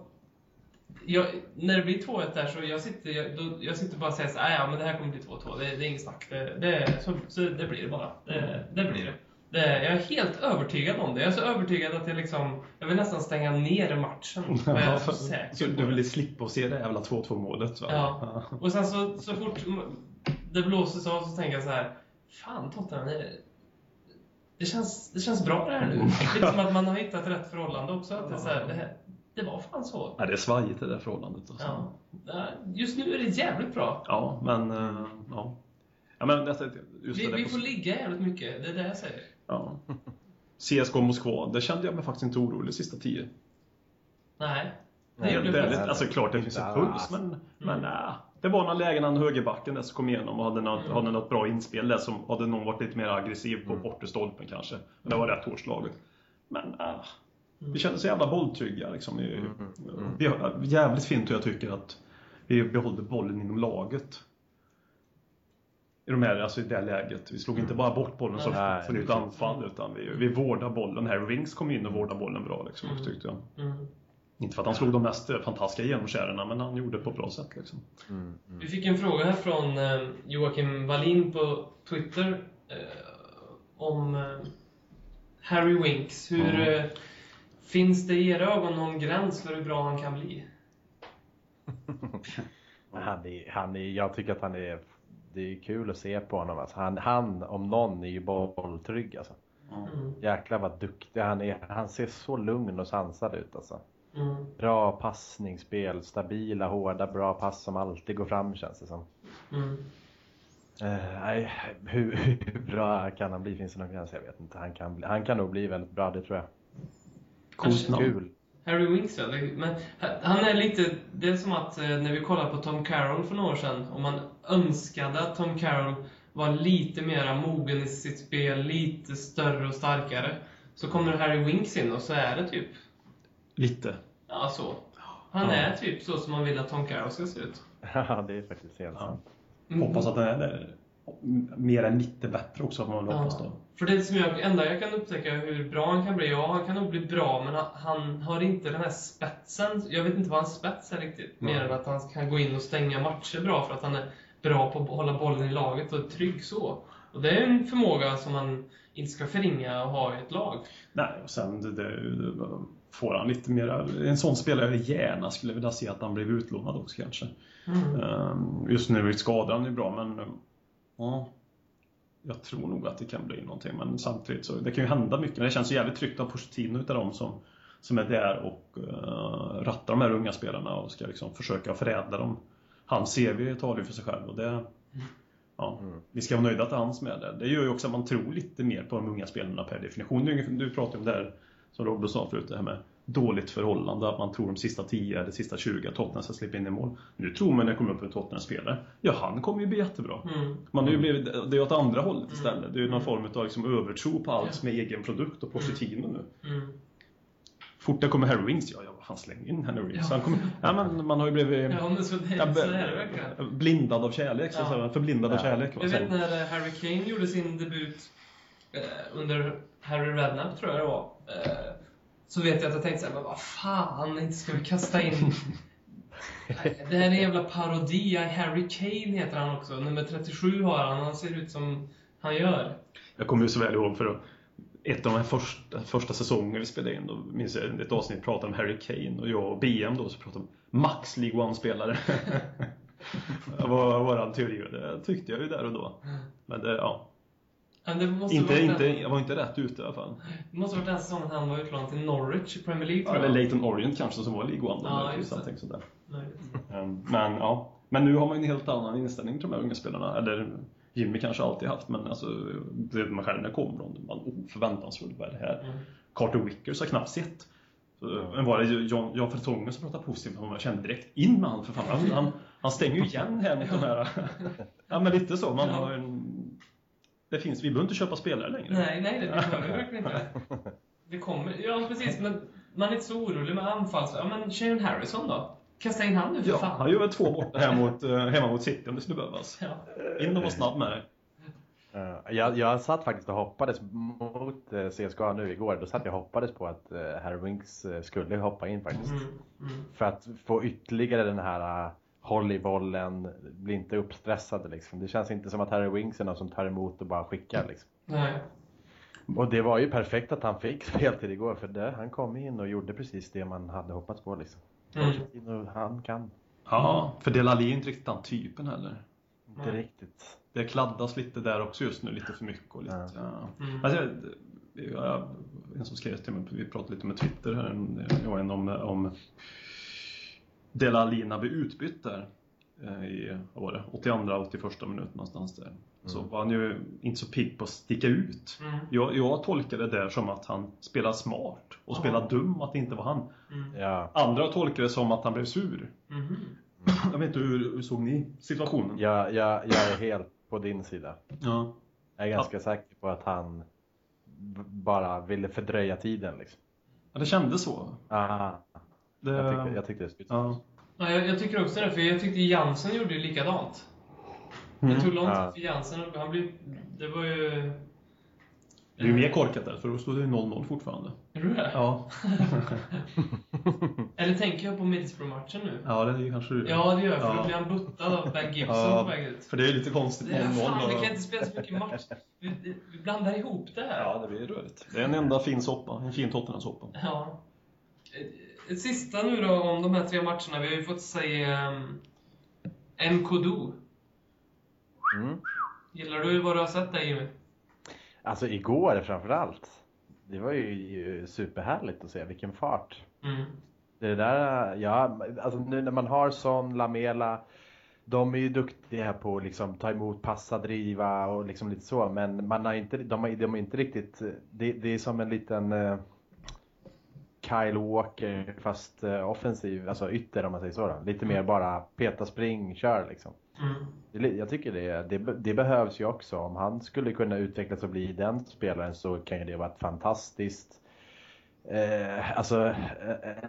Speaker 2: jag, när det blir 2-1 där så jag sitter jag, då, jag sitter bara och säger så här, "Ah, ja men det här kommer bli 2-2, det, det är inget snack. Det, det, så, så det blir det bara. Det, det blir det. det. Jag är helt övertygad om det. Jag är så övertygad att jag liksom, jag vill nästan stänga ner matchen.
Speaker 4: *laughs*
Speaker 2: Jag är så säker
Speaker 4: så
Speaker 2: på
Speaker 4: du
Speaker 2: det.
Speaker 4: vill slippa att se det jävla 2-2 målet va?
Speaker 2: Ja. Och sen så, så fort det blåses av så tänker jag så här. Fan Tottenham, är- det känns, det känns bra det här nu. Lite som att man har hittat rätt förhållande också. Att det, är så här, det, här, det var fan så.
Speaker 4: Nej, det är svajigt det där förhållandet. Alltså.
Speaker 2: Ja. Just nu är det jävligt bra.
Speaker 4: Ja, men... eh, Ja. ja men detta, just
Speaker 2: Vi,
Speaker 4: det där
Speaker 2: vi
Speaker 4: på-
Speaker 2: får ligga jävligt mycket, det är det jag säger.
Speaker 4: ja. CSK Moskva, där kände jag mig faktiskt inte orolig sista tio.
Speaker 2: Nej. Det
Speaker 3: Nej,
Speaker 2: gjorde
Speaker 4: Väldigt,
Speaker 2: vi
Speaker 3: det
Speaker 2: faktiskt.
Speaker 3: är-
Speaker 4: alltså klart det finns en puls, men, men nej. Det var några lägen han högerbacken där som kom igenom och hade något, hade något bra inspel där som hade någon varit lite mer aggressiv på bortre stolpen kanske. Men det var rätt hårt slaget. Men äh, vi kände oss jävla bolltrygga liksom. Vi, vi, jävligt fint hur jag tycker att vi behåller bollen inom laget. I de här, alltså i det här läget. Vi slog inte bara bort bollen som
Speaker 3: Nej.
Speaker 4: från ett anfall utan vi, vi vårdade bollen. Här Rings kom in och vårdade bollen bra liksom,
Speaker 2: Mm.
Speaker 4: tyckte jag.
Speaker 2: Mm.
Speaker 4: Inte för att han slog de mest fantastiska genomskärarna, men han gjorde det på ett bra sätt. Liksom.
Speaker 3: Mm, mm.
Speaker 2: Vi fick en fråga här från eh, Joakim Wallin på Twitter eh, om eh, Harry Winks. Hur eh, Finns det i era ögon någon gräns för hur bra han kan bli?
Speaker 3: Han är, han är, jag tycker att han är, det är kul att se på honom. Alltså han, han om någon är ju bolltrygg alltså.
Speaker 2: Mm.
Speaker 3: Jäklar vad duktig han är. Han ser så lugn och sansad ut alltså.
Speaker 2: Mm.
Speaker 3: Bra passningsspel, stabila, hårda, bra pass som alltid går fram känns det som.
Speaker 2: Mm.
Speaker 3: Eh, nej, hur, hur bra kan han bli? Finns det någon gräns? Jag vet inte. Han kan, bli, han kan nog bli väldigt bra, det tror jag.
Speaker 4: Coolt namn.
Speaker 3: Kul. *laughs*
Speaker 2: Harry Winks ja, det- men eh, han är lite, det är som att eh, när vi kollade på Tom Carroll för några år sedan och man önskade att Tom Carroll var lite mer mogen i sitt spel, lite större och starkare. Så kommer Harry Winks in och så är det typ,
Speaker 4: Lite.
Speaker 2: ja så. Han
Speaker 4: Ja.
Speaker 2: är typ så som man vill att Tom Carroll ska se ut.
Speaker 3: Ja, det är faktiskt helt
Speaker 4: Ja.
Speaker 3: sant.
Speaker 2: Mm.
Speaker 4: Hoppas att den är där. mer än lite bättre också, får man väl hoppas då.
Speaker 2: För det som jag, enda jag kan upptäcka hur bra han kan bli, ja han kan nog bli bra men han, han har inte den här spetsen. Jag vet inte vad hans spets är riktigt.
Speaker 4: Nej.
Speaker 2: Mer än att han kan gå in och stänga matcher bra för att han är bra på att hålla bollen i laget och är trygg så. Och det är en förmåga som man inte ska förringa att ha i ett lag.
Speaker 4: Nej, och sen det, det, det, får han lite mer... En sån spelare jag gärna skulle vilja se att han blev utlånad också kanske.
Speaker 2: Mm.
Speaker 4: Ehm, Just nu är skadan ju bra, men... eh, Ja. Jag tror nog att det kan bli någonting, men samtidigt så... Det kan ju hända mycket, men det känns ju jävligt tryggt av Pochettino utav dem som, som är där och eh, rattar de här unga spelarna och ska liksom försöka förädla dem. Hans CV talar ju för sig själv och det... Ja,
Speaker 2: Mm.
Speaker 4: vi ska vara nöjda att det är han som är där. Det gör ju också att man tror lite mer på de unga spelarna per definition. Det är ju ungefär- Du pratade om det här, som Robin sa förut, det här med dåligt förhållande, att man tror de sista 10 eller sista 20 att Tottenham ska slippa in i mål. Nu tror man när det kommer upp en Tottenham-spelare, ja han kommer ju bli jättebra.
Speaker 2: Mm.
Speaker 4: Man har ju blivit, det är åt andra hållet istället. Det är ju någon form av liksom övertro på allt som är egen produkt och Pochettino nu.
Speaker 2: Mm.
Speaker 4: Fort det kommer Harry Wings, ja, ja han slänger in Harry Wings.
Speaker 2: Ja.
Speaker 4: Han kommer, ja, men man har ju blivit
Speaker 2: Ja, men så, det, så är det verkligen.
Speaker 4: blindad av kärlek, så
Speaker 2: Ja.
Speaker 4: att säga. förblindad av
Speaker 3: Ja.
Speaker 4: kärlek. vad
Speaker 2: Jag
Speaker 4: säger
Speaker 2: vet
Speaker 4: man?
Speaker 2: när eh, Harry Kane gjorde sin debut eh, under Harry Redknapp, tror jag det var. Eh, så vet jag att jag tänkte såhär, men vad fan, inte ska vi kasta
Speaker 4: *laughs*
Speaker 2: in... Det här är en jävla parodi. Harry Kane heter han också. Nummer 37 har han. Han ser ut som han gör.
Speaker 4: Jag kommer ju så väl ihåg för att ett av de här första, första säsongerna vi spelade in, då minns jag ett avsnitt pratade om Harry Kane och jag och BM då så pratade om Max League *laughs* One-spelare. Det var våran teori och det tyckte jag ju där och då. Men det, ja.
Speaker 2: Men det måste
Speaker 4: Inte,
Speaker 2: varit
Speaker 4: inte,
Speaker 2: Den,
Speaker 4: jag var inte rätt ute i alla fall.
Speaker 2: det måste varit den säsongen han var utlånad till Norwich i Premier League, tror
Speaker 4: Eller
Speaker 2: jag.
Speaker 4: Leighton Orient kanske som var League One.
Speaker 2: Ja,
Speaker 4: Ja,
Speaker 2: just det.
Speaker 4: någonting sådär.
Speaker 2: Möjligt.
Speaker 4: Ehm, Men ja. Men nu har man ju en helt annan inställning till de här unga spelarna. Eller Jimmy kanske alltid haft, men alltså, det är man själv när det kommer de, man oh, förväntansfull, vad är det här?
Speaker 2: Mm.
Speaker 4: Carter Wickers har knappt sett. Så, Men var det ju John, John Fertongen som pratade positivt om honom? Jag kände direkt in med han för fan. Han, han, han stänger ju igen här mot
Speaker 2: *laughs*
Speaker 4: de här. ja men lite så. Man har en, det finns, vi behöver inte köpa spelare längre.
Speaker 2: Nej, nej, det behöver vi verkligen inte.
Speaker 4: *laughs*
Speaker 2: Det kommer. Ja, precis. Men man är inte så orolig med anfalls... Ja, men Sharon Harrison då? Kasta in han nu för
Speaker 4: Ja,
Speaker 2: fan.
Speaker 4: han gör väl två borta här mot, eh, hemma mot City om det skulle behövas.
Speaker 2: Ja.
Speaker 4: In och var snabb med dig.
Speaker 3: Eh, jag, jag satt faktiskt och hoppades mot eh, CSKA nu igår. Då satt jag och hoppades på att eh, Harry Winks eh, skulle hoppa in faktiskt.
Speaker 2: Mm, mm.
Speaker 3: För att få ytterligare den här eh, håll i bollen, bli inte uppstressad liksom. Det känns inte som att Harry Winks är någon som tar emot och bara skickar liksom.
Speaker 2: Nej.
Speaker 3: Och det var ju perfekt att han fick *laughs* speltid igår för det, han kom in och gjorde precis det man hade hoppats på liksom.
Speaker 2: Mm.
Speaker 3: In och Han kan.
Speaker 4: Ja, för Delali är inte riktigt den typen heller.
Speaker 3: Inte
Speaker 2: Nej.
Speaker 3: riktigt.
Speaker 4: Det kladdas lite där också just nu, lite för mycket. Och lite, ja.
Speaker 2: Mm.
Speaker 4: alltså, jag, jag, en som skrev till mig, vi pratade lite med Twitter här, en- jag och en om, om Delalina blev utbytt där eh, i vad var det, 82-81 minut någonstans där. Så
Speaker 3: Mm.
Speaker 4: var han ju inte så pigg på att sticka ut.
Speaker 2: Mm.
Speaker 4: Jag, jag tolkade det där som att han spelar smart och
Speaker 2: Ja.
Speaker 4: spelar dum, att det inte var han.
Speaker 2: Mm.
Speaker 3: Ja,
Speaker 4: Andra tolkade det som att han blev sur.
Speaker 2: Mhm.
Speaker 4: Jag vet inte, hur, hur såg ni situationen?
Speaker 3: jag, jag, jag är helt på din sida.
Speaker 4: Ja.
Speaker 3: Jag är ganska säker på att han b- bara ville fördröja tiden liksom.
Speaker 4: Ja, det kändes så.
Speaker 3: Ah,
Speaker 4: Det,
Speaker 3: jag, tyckte, jag tyckte det skulle
Speaker 4: ja.
Speaker 2: Ja, jag, jag tycker också det, för jag tyckte Jansen gjorde ju likadant. Det
Speaker 4: Mm.
Speaker 2: tog lång tid
Speaker 3: Ja.
Speaker 2: för Jansen och han blev... Det var ju...
Speaker 4: Det är ju mer korkat där, för då stod det ju 0-0 fortfarande.
Speaker 2: Är du det?
Speaker 4: Ja,
Speaker 2: Eller tänker jag på Middlesbrough-matchen nu?
Speaker 4: ja det är ju kanske du.
Speaker 2: Ja, det gör jag, för
Speaker 4: Ja.
Speaker 2: då blir han buttad av Ben Gibson
Speaker 4: Ja.
Speaker 2: på väg ut.
Speaker 4: För det är ju lite konstigt
Speaker 2: Det, fan, vi
Speaker 4: 0-0.
Speaker 2: kan
Speaker 4: och-
Speaker 2: inte spela så mycket
Speaker 4: *laughs*
Speaker 2: match. Vi, vi blandar ihop det här.
Speaker 4: Ja, det blir rörigt. Det är en enda fin soppa, en fin Tottenham-soppa.
Speaker 2: Ja. Eh, Sista nu då om de här tre matcherna. Vi har ju fått se um, Nkodu.
Speaker 3: Mm.
Speaker 2: Gillar du vad du har sett där Jimmy?
Speaker 3: Alltså igår framförallt. Det var ju- ju superhärligt att se vilken fart.
Speaker 2: Mm.
Speaker 3: Det där, ja, alltså nu när man har sån Lamela. De är ju duktiga på att liksom ta emot, passa, driva och liksom lite så. Men man har inte, de, har, de är inte riktigt, det, det är som en liten eh, Kyle Walker fast eh, offensiv, alltså ytter om man säger så. Då. Lite mer bara peta, spring, kör liksom.
Speaker 2: Mm.
Speaker 3: Det li- Jag tycker det, det, be- det behövs ju också. Om han skulle kunna utvecklas och bli den spelaren så kan ju det vara ett fantastiskt Eh, alltså eh,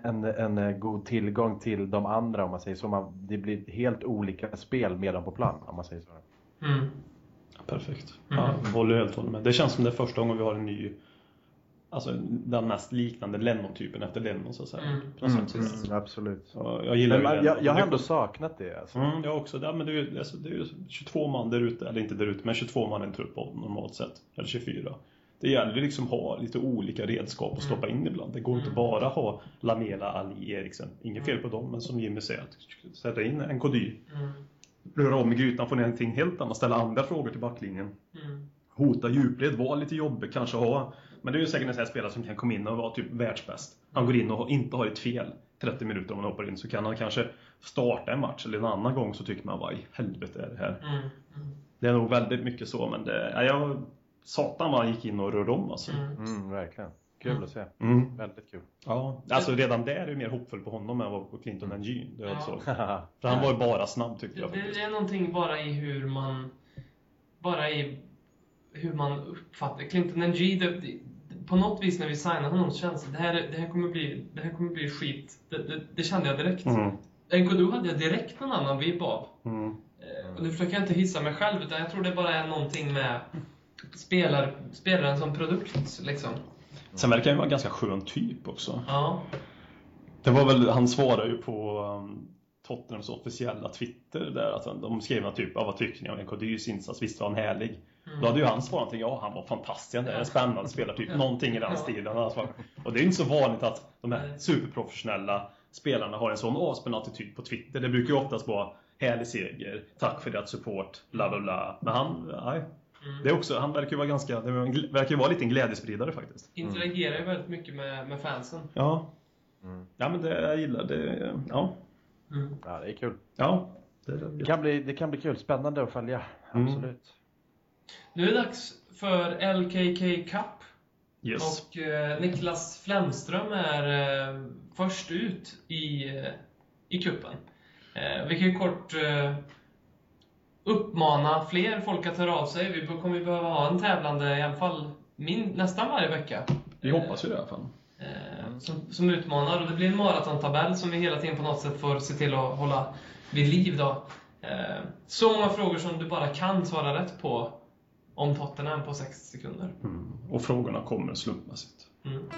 Speaker 3: en, en eh, god tillgång till de andra om man säger så. Man, det blir helt olika spel med dem på plan om man säger så.
Speaker 2: Mm.
Speaker 4: Perfekt.
Speaker 2: Mm.
Speaker 4: Ja, jag håller helt och hållet med. Det känns som det är första gången vi har en ny, alltså den mest liknande Lennon-typen efter Lennon så att säga.
Speaker 2: Mm.
Speaker 4: På något sätt.
Speaker 3: Mm, absolut.
Speaker 4: Ja, Jag gillar
Speaker 3: Men
Speaker 4: ju
Speaker 3: man,
Speaker 4: Lennon.
Speaker 3: jag, jag har ändå saknat det. Alltså.
Speaker 4: Mm, jag också. Ja, men det, är, ju- alltså, det är ju 22 man där ute, eller inte där ute, men 22 man i en trupp av normalt sett. Eller 24. Det gäller ju liksom att ha lite olika redskap att stoppa in ibland. Det går inte
Speaker 2: Mm.
Speaker 4: bara att ha Lamela, Ali, Eriksen. Inget fel på dem, men som Jimmy säger, att sätta in en kody,
Speaker 2: Mm.
Speaker 4: röra om i grytan, få ner någonting helt annat, ställa andra frågor till backlinjen.
Speaker 2: Mm.
Speaker 4: Hota djupled, vara lite jobbig, kanske ha... Men det är ju säkert en sån här spelare som kan komma in och vara typ världsbäst. Han går in och har- inte har ett fel 30 minuter om han hoppar in, så kan han kanske starta en match eller en annan gång så tycker man vad i helvete är det här?
Speaker 2: Mm.
Speaker 4: Det är nog väldigt mycket så, men det... Ja, jag, satan vad han gick in och rörde om alltså.
Speaker 2: Mm.
Speaker 3: Mm, verkligen. Kul att se.
Speaker 4: Mm.
Speaker 3: Väldigt kul.
Speaker 4: Ja, alltså redan där är jag mer hoppfull på honom än vad på Clinton mm. Jean. Det
Speaker 2: *laughs*
Speaker 4: är
Speaker 2: Ja.
Speaker 4: så. För han var ju bara snabb tyckte
Speaker 2: Det,
Speaker 4: jag faktiskt.
Speaker 2: det är någonting bara i hur man... Bara i hur man uppfattar Clinton NG. Det, det, på något vis när vi signade honom så kändes det det här, det här kommer bli, det här kommer bli skit. Det, det, det kände jag direkt.
Speaker 4: Mm.
Speaker 2: Nkodu hade jag direkt någon annan vibb av.
Speaker 4: Mm.
Speaker 2: Eh, Och nu försöker jag inte hissa mig själv utan jag tror det bara är någonting med spelar, spelaren som produkt liksom.
Speaker 4: Sen verkar han ju vara en ganska skön typ också.
Speaker 2: Ja.
Speaker 4: Det var väl, han svarade ju på um, Tottenhams officiella Twitter där att han- de skrev något typ "Ja, vad tycker ni om NKDYs insats? Visst var han härlig? Då hade ju han svarat någonting, ja han var fantastisk, det är en spännande spelare, typ någonting i den
Speaker 2: Mm. Ja.
Speaker 4: stilen. Han svarade. Och det är inte så vanligt att de här
Speaker 2: Nej.
Speaker 4: superprofessionella spelarna har en sån avspänd attityd på Twitter. Det brukar ju oftast vara härlig seger, tack för ditt support, bla bla bla. Men han, nej.
Speaker 2: Mm.
Speaker 4: Det är också, han verkar ju vara ganska, det verkar ju vara lite en glädjespridare faktiskt.
Speaker 2: Interagerar ju väldigt mycket med, med fansen.
Speaker 4: Ja.
Speaker 3: Mm.
Speaker 4: Ja men det, jag gillar det, ja.
Speaker 2: Mm.
Speaker 3: Ja, det är kul.
Speaker 4: Ja.
Speaker 3: Det kan bli, det kan bli kul. Spännande att följa.
Speaker 4: Mm.
Speaker 3: Absolut.
Speaker 2: Nu är det dags för LKK Cup.
Speaker 4: Yes.
Speaker 2: Och eh, Niklas Flemström är eh, först ut i, eh, i kuppen. Eh, vi kan ju kort eh, uppmana fler folk att höra av sig. Vi be- kommer ju behöva ha en tävlande i alla fall min, nästan varje vecka.
Speaker 4: Vi hoppas ju det i alla fall.
Speaker 2: Eh, som, som utmanar. Och det blir en maratontabell som vi hela tiden på något sätt får se till att hålla vid liv. Då. Eh, så många frågor som du bara kan svara rätt på om Tottenham på 60 sekunder.
Speaker 4: Och frågorna kommer slumpmässigt.
Speaker 2: Mm.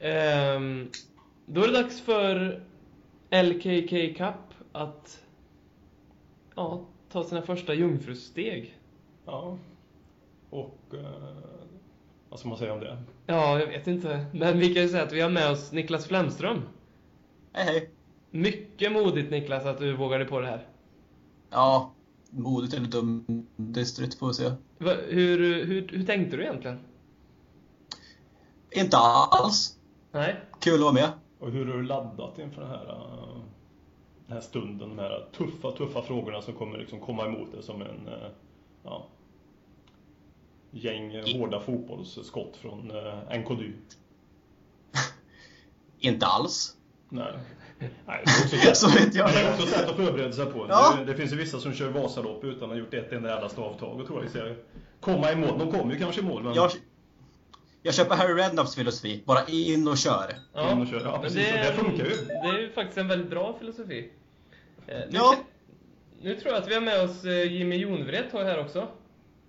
Speaker 2: Ehm, Då är det dags för LKK Cup att ja, ta sina första jungfrusteg.
Speaker 4: Ja. Och... Eh, vad ska man säga om det?
Speaker 2: Ja, jag vet inte. Men vi kan ju säga att vi har med oss Niklas Flemström.
Speaker 5: Hej, hej.
Speaker 2: Mycket modigt Niklas att du vågade på det här.
Speaker 5: Ja, modigt eller dum, dystert får vi se.
Speaker 2: Va, hur, hur, hur tänkte du egentligen?
Speaker 5: Inte alls.
Speaker 2: Nej?
Speaker 5: Kul att vara med.
Speaker 4: Och hur har du laddat inför den här, eh, den här stunden? De här tuffa, tuffa frågorna som kommer liksom komma emot dig som en... eh, Ja, gäng eh, hårda fotbollsskott från eh, NKD.
Speaker 5: Inte alls. *laughs*
Speaker 4: *laughs* Nej. Nej, det är också sätt.
Speaker 5: Så vet jag.
Speaker 4: Det är också ett sätt att förbereda sig på.
Speaker 5: Ja.
Speaker 4: Det, det finns ju vissa som kör Vasalopp utan att ha gjort ett enda jävla stavtag och tror jag ska komma i mål. De kommer ju kanske i mål, men...
Speaker 5: Jag, jag köper Harry Rednaps filosofi. Bara in och kör.
Speaker 4: In och kör. Ja,
Speaker 2: men
Speaker 4: precis. Och det funkar ju.
Speaker 2: Det är ju faktiskt en väldigt bra filosofi. Eh, nu,
Speaker 5: Ja.
Speaker 2: nu tror jag att vi har med oss eh, Jimmy Jonvret här också.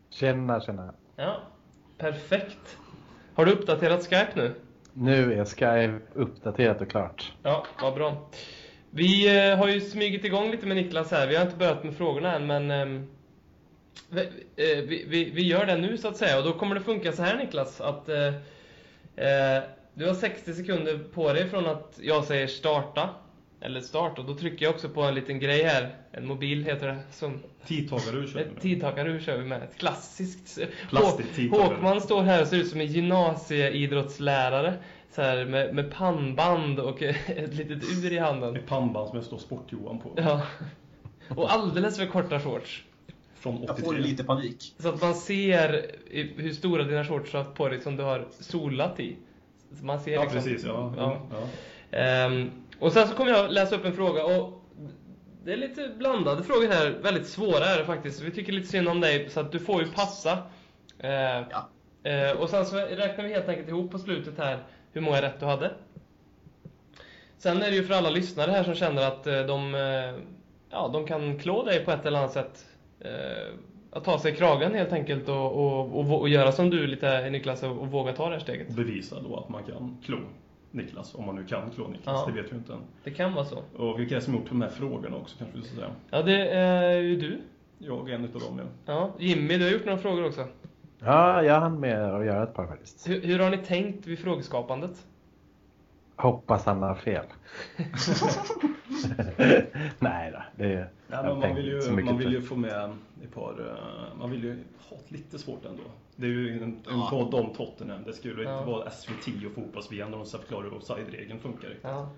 Speaker 3: Tjena, tjena.
Speaker 2: Ja, perfekt. Har du uppdaterat Skype nu?
Speaker 3: Nu är Skype uppdaterat och klart.
Speaker 2: Ja, vad bra. Vi eh, har ju smugit igång lite med Niklas här. Vi har inte börjat med frågorna än, men ehm, vi, eh, vi, vi, vi gör det nu så att säga. Och då kommer det funka så här Niklas, att eh, eh, du har 60 sekunder på dig från att jag säger starta, eller start, och då trycker jag också på en liten grej här. En mobil heter det, som
Speaker 4: Tidtagare ur kör vi
Speaker 2: ett
Speaker 4: med.
Speaker 2: tidtakarur kör vi med. Ett klassiskt.
Speaker 4: Plastigt tidtakarur.
Speaker 2: Håkman står här och ser ut som en gymnasieidrottslärare. Så här med, med pannband och *laughs* ett litet ur i handen.
Speaker 4: Ett pannband som det står Sport-Johan på.
Speaker 2: Ja. Och alldeles för korta shorts.
Speaker 4: Från
Speaker 5: Jag får
Speaker 4: 83.
Speaker 5: lite panik.
Speaker 2: Så att man ser i- hur stora dina shorts har haft på dig som du har solat i. Så man ser
Speaker 4: Ja,
Speaker 2: liksom,
Speaker 4: precis. Ja.
Speaker 2: Ja.
Speaker 4: Ja. Ja.
Speaker 2: Ehm, och sen så kommer jag läsa upp en fråga och det är lite blandade frågor här, väldigt svåra är det faktiskt. Vi tycker lite synd om dig så att du får ju passa. Ehm,
Speaker 5: Ja.
Speaker 2: eh, och sen så räknar vi helt enkelt ihop på slutet här hur många rätt du hade. Sen är det ju för alla lyssnare här som känner att eh, de, eh, ja, de kan klå dig på ett eller annat sätt. Eh, att ta sig i kragen helt enkelt och, och, och, vå- och göra som du lite Niklas och, och våga ta det här steget.
Speaker 4: Bevisa då att man kan klå Niklas, om man nu kan klå Niklas.
Speaker 2: Ja.
Speaker 4: Det vet vi ju inte än.
Speaker 2: Det kan vara så.
Speaker 4: Och vilka är det som gjort de här frågorna också kanske vi ska säga.
Speaker 2: Ja, det är ju du.
Speaker 4: Jag är en utav dem ja.
Speaker 2: Ja, Jimmy, du har gjort några frågor också.
Speaker 3: Ja, jag hann med att göra ett par faktiskt.
Speaker 2: Hur, hur har ni tänkt vid frågeskapandet?
Speaker 3: Hoppas han har fel. *laughs* Nej då, det är...
Speaker 4: Nej,
Speaker 3: jag
Speaker 4: men man
Speaker 3: tänkte
Speaker 4: vill,
Speaker 3: inte så
Speaker 4: ju,
Speaker 3: mycket
Speaker 4: man vill
Speaker 3: på-
Speaker 4: ju få med ett par, eh, man vill ju ha ett lite svårt ändå. Det är ju en, en
Speaker 5: Ja.
Speaker 4: podd om Tottenham. Det skulle
Speaker 2: Ja.
Speaker 4: inte vara SVT och fotbolls-VM där de ska förklara hur offside-regeln funkar. riktigt.
Speaker 2: Ja.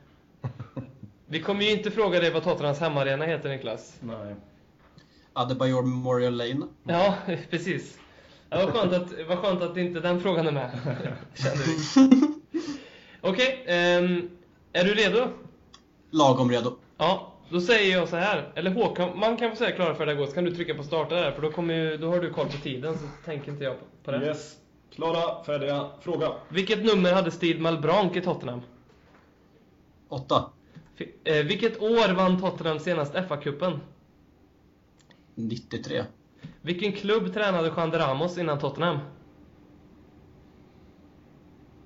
Speaker 2: *laughs* Vi kommer ju inte fråga dig vad Tottenhams hemmaarena heter, Niklas.
Speaker 4: Nej.
Speaker 5: Adebayor Memorial Lane.
Speaker 2: Ja, *laughs* precis. Ja, vad, skönt att, vad skönt att inte den frågan är *laughs* med. Känner vi. Okej, ehm, är du redo?
Speaker 5: Lagom redo.
Speaker 2: Ja, då säger jag så här. Eller Håkan, man kan få säga klara för det går, så kan du trycka på starta där, för då, kommer ju, då har du koll på tiden, så tänker inte jag på, på det.
Speaker 4: Yes. Klara, färdiga, fråga.
Speaker 2: Vilket nummer hade Steve Malbrank i Tottenham?
Speaker 5: Åtta.
Speaker 2: Fi- eh, Vilket år vann Tottenham senast FA-cupen?
Speaker 5: 93.
Speaker 2: Vilken klubb tränade Juan de Ramos innan Tottenham?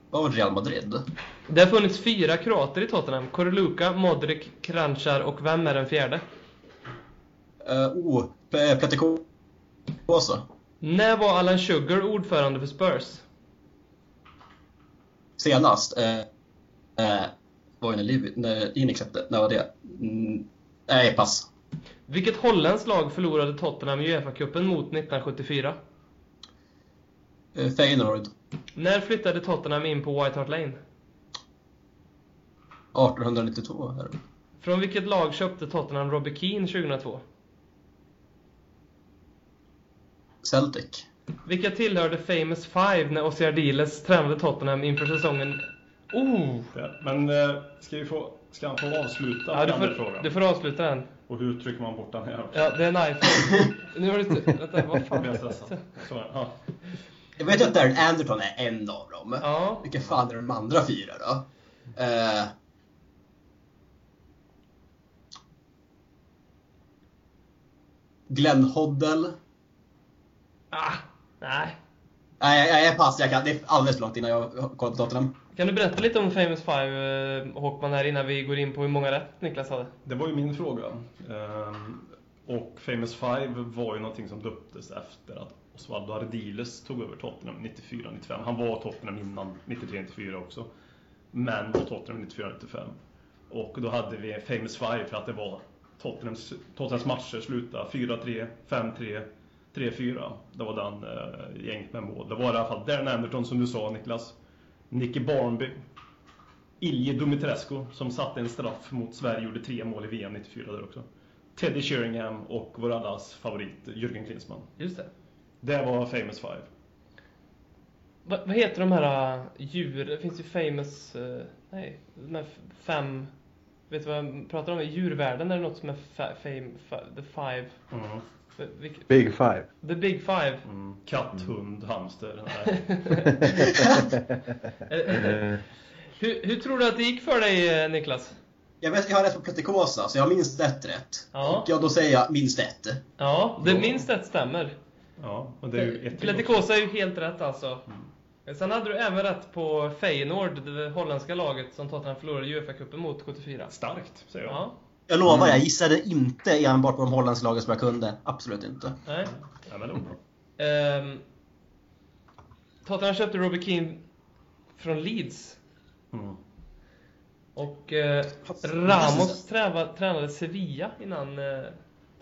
Speaker 5: Vad var Real Madrid?
Speaker 2: Det har funnits fyra kroater i Tottenham. Koruluka, Modric, Kranjčar och vem är den fjärde?
Speaker 5: Uh, oh, P- Petekosa.
Speaker 2: När var Alan Sugar ordförande för Spurs?
Speaker 5: Senast. Uh, uh, var ju när, Liv- när Inex släppte. När var det? Mm, nej, pass.
Speaker 2: Vilket holländskt lag förlorade Tottenham i Uefa-cupen mot 1974?
Speaker 5: Uh, Feyenoord.
Speaker 2: När flyttade Tottenham in på White Hart Lane?
Speaker 5: 1892. Här.
Speaker 2: Från vilket lag köpte Tottenham Robbie Keane 2002?
Speaker 5: Celtic.
Speaker 2: Vilka tillhörde Famous Five när Ossi Ardiles tränade Tottenham inför säsongen... Oh!
Speaker 4: Där. Men eh, ska, vi få, ska han få avsluta
Speaker 2: Ja, du,
Speaker 4: den andra
Speaker 2: får,
Speaker 4: frågan?
Speaker 2: du får avsluta den.
Speaker 4: Och hur trycker man bort den här?
Speaker 2: Ja, det är en iPhone. nu har du... inte- Vänta, vad
Speaker 4: Jag blir
Speaker 2: fan?
Speaker 4: stressad. Så, ja.
Speaker 5: Jag vet ju att Darren Anderton är en av dem.
Speaker 2: Ja.
Speaker 5: Vilka fan är de andra fyra då? Eh, Glenn Hoddle.
Speaker 2: Ah, nej.
Speaker 5: Nej, jag, jag pass. Jag kan. Det är alldeles för långt innan jag kollar på Tottenham.
Speaker 2: Kan du berätta lite om Famous Five, eh, Håkman, här innan vi går in på hur många rätt Niklas hade?
Speaker 4: Det var ju min fråga. Ehm, och Famous Five var ju någonting som döptes efter att Osvaldo Ardiles tog över Tottenham 94-95. Han var Tottenham innan 93-94 också. Men var Tottenham 94-95. Och då hade vi Famous Five för att det var Tottenhams, Tottenhams matcher slutade 4-3, 5-3, 3-4. Det var den eh, gänget med mål. Det var i alla fall Darren Anderton som du sa Niklas. Nicky Barnby. Ilje Dumitrescu som satte en straff mot Sverige gjorde tre mål i VM 94 där också. Teddy Sheringham och vår allas favorit Jürgen Klinsmann.
Speaker 2: Just det.
Speaker 4: Det var Famous Five.
Speaker 2: Va, vad heter de här äh, djur... Det finns ju famous... eh, nej, de här f- fem... Vet du vad jag pratar om? I djurvärlden är det något som är fa, fame, fa, the five... Va- vilk-
Speaker 3: Big
Speaker 4: *laughs*
Speaker 3: five.
Speaker 2: the big five.
Speaker 4: Mm. Katt,
Speaker 2: *laughs*
Speaker 4: hund, hamster. Nej.
Speaker 2: Eh, eh,
Speaker 3: Eh,
Speaker 2: hur, hur tror du att det gick för dig eh, Niklas?
Speaker 5: Jag vet att jag har rätt på pretikosa, så jag har minst ett rätt.
Speaker 2: Ja.
Speaker 5: Och jag då säger jag minst ett.
Speaker 2: Ja, det
Speaker 4: Ja.
Speaker 2: minst ett stämmer.
Speaker 4: Ja, och det är ju ett till också.
Speaker 2: Pleticosa är ju helt rätt alltså.
Speaker 4: Mm.
Speaker 2: Sen hade du även rätt på Feyenoord, det holländska laget som Tottenham förlorade Uefa-cupen mot 74.
Speaker 4: Starkt, säger jag.
Speaker 2: Ja,
Speaker 5: Jag lovar, jag gissade inte enbart på de holländska lagen som jag kunde. Absolut inte.
Speaker 2: nej.
Speaker 4: Ja, men det var bra.
Speaker 2: Ehm, Tottenham köpte Robbie Keane från Leeds.
Speaker 4: Mm.
Speaker 2: Och eh, Ramos träva, tränade Sevilla innan eh,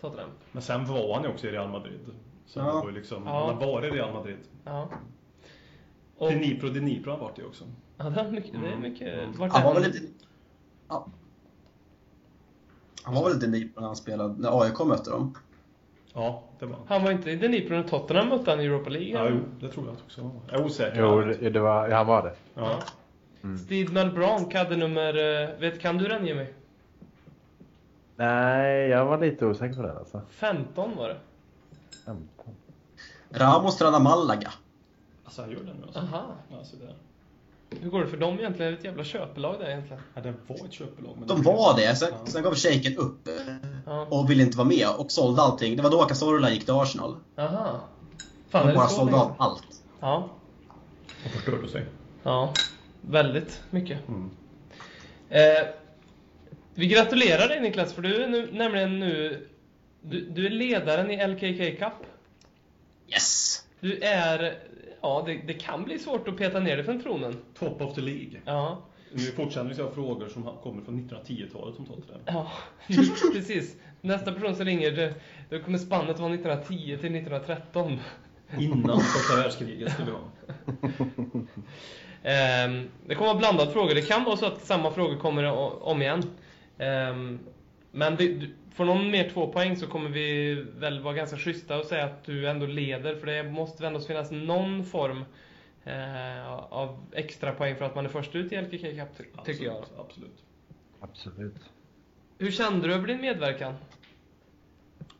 Speaker 2: Tottenham.
Speaker 4: Men sen var han ju också i Real Madrid. Så
Speaker 5: Ja.
Speaker 4: han var ju liksom,
Speaker 2: Ja.
Speaker 4: han har varit i Real Madrid.
Speaker 2: Ja. Och,
Speaker 4: Och... Dnipro, Dnipro har han varit i också.
Speaker 2: ja, det, är mycket, det är mycket...
Speaker 4: Mm.
Speaker 2: Vart
Speaker 5: Han var
Speaker 2: är
Speaker 5: väl
Speaker 2: han?
Speaker 5: lite... Ja. Han var väl lite ny när han spelade, när AIK mötte dem.
Speaker 4: Ja, det var han.
Speaker 2: Han var inte i Dnipro när Tottenham mötte han i Europa League.
Speaker 4: Ja, jo, det tror jag också. han var. Jag är osäker.
Speaker 3: Jo, det det var, han var det.
Speaker 4: Ja.
Speaker 2: Steedman Bronk hade nummer... eh, Vet, kan du den Jimmy?
Speaker 3: Nej, jag var lite osäker på den alltså.
Speaker 2: 15 var det.
Speaker 3: 15.
Speaker 5: Ramos tränade Malaga.
Speaker 4: Alltså han gör det nu alltså.
Speaker 2: Aha.
Speaker 4: Ja, så där.
Speaker 2: Hur går det för dem egentligen? Det är ett jävla köpelag där egentligen.
Speaker 4: ja, det var ett köpelag. men
Speaker 5: De
Speaker 4: blev-
Speaker 5: var det, sen,
Speaker 4: Ja.
Speaker 5: sen gav shejken upp eh,
Speaker 2: Ja.
Speaker 5: och ville inte vara med och sålde allting. Det var då Cazorla gick till Arsenal.
Speaker 2: Aha. Fan, är
Speaker 5: De
Speaker 2: det
Speaker 5: bara
Speaker 2: så?
Speaker 5: sålde av
Speaker 2: länge?
Speaker 5: allt.
Speaker 2: Ja.
Speaker 4: De förstörde sig.
Speaker 2: Ja. Väldigt mycket.
Speaker 4: Mm.
Speaker 2: Eh, vi gratulerar dig Niklas, för du är nu, nämligen nu... Du, du är ledaren i LKK Cup.
Speaker 5: Yes!
Speaker 2: Du är... Ja, det, det kan bli svårt att peta ner dig från tronen.
Speaker 4: Top of the League.
Speaker 2: Ja.
Speaker 4: Nu fortsätter jag frågor som har- kommer från 1910-talet om Tottenham.
Speaker 2: Ja, precis. Nästa person som ringer, det- då kommer spannet vara 1910 till 1913.
Speaker 4: Innan första världskriget ska vi ha.
Speaker 2: Ehm, det kommer vara blandade frågor. Det kan vara så att samma frågor kommer o- om igen. Ehm, men det, du- får någon mer två poäng så kommer vi väl vara ganska schyssta och säga att du ändå leder. För det måste väl ändå finnas någon form eh, av extra poäng för att man är först ut i LKK Cup, ty- *laughs* tycker jag.
Speaker 4: Absolut, Absolut.
Speaker 3: Absolut.
Speaker 2: Hur kände du över din medverkan?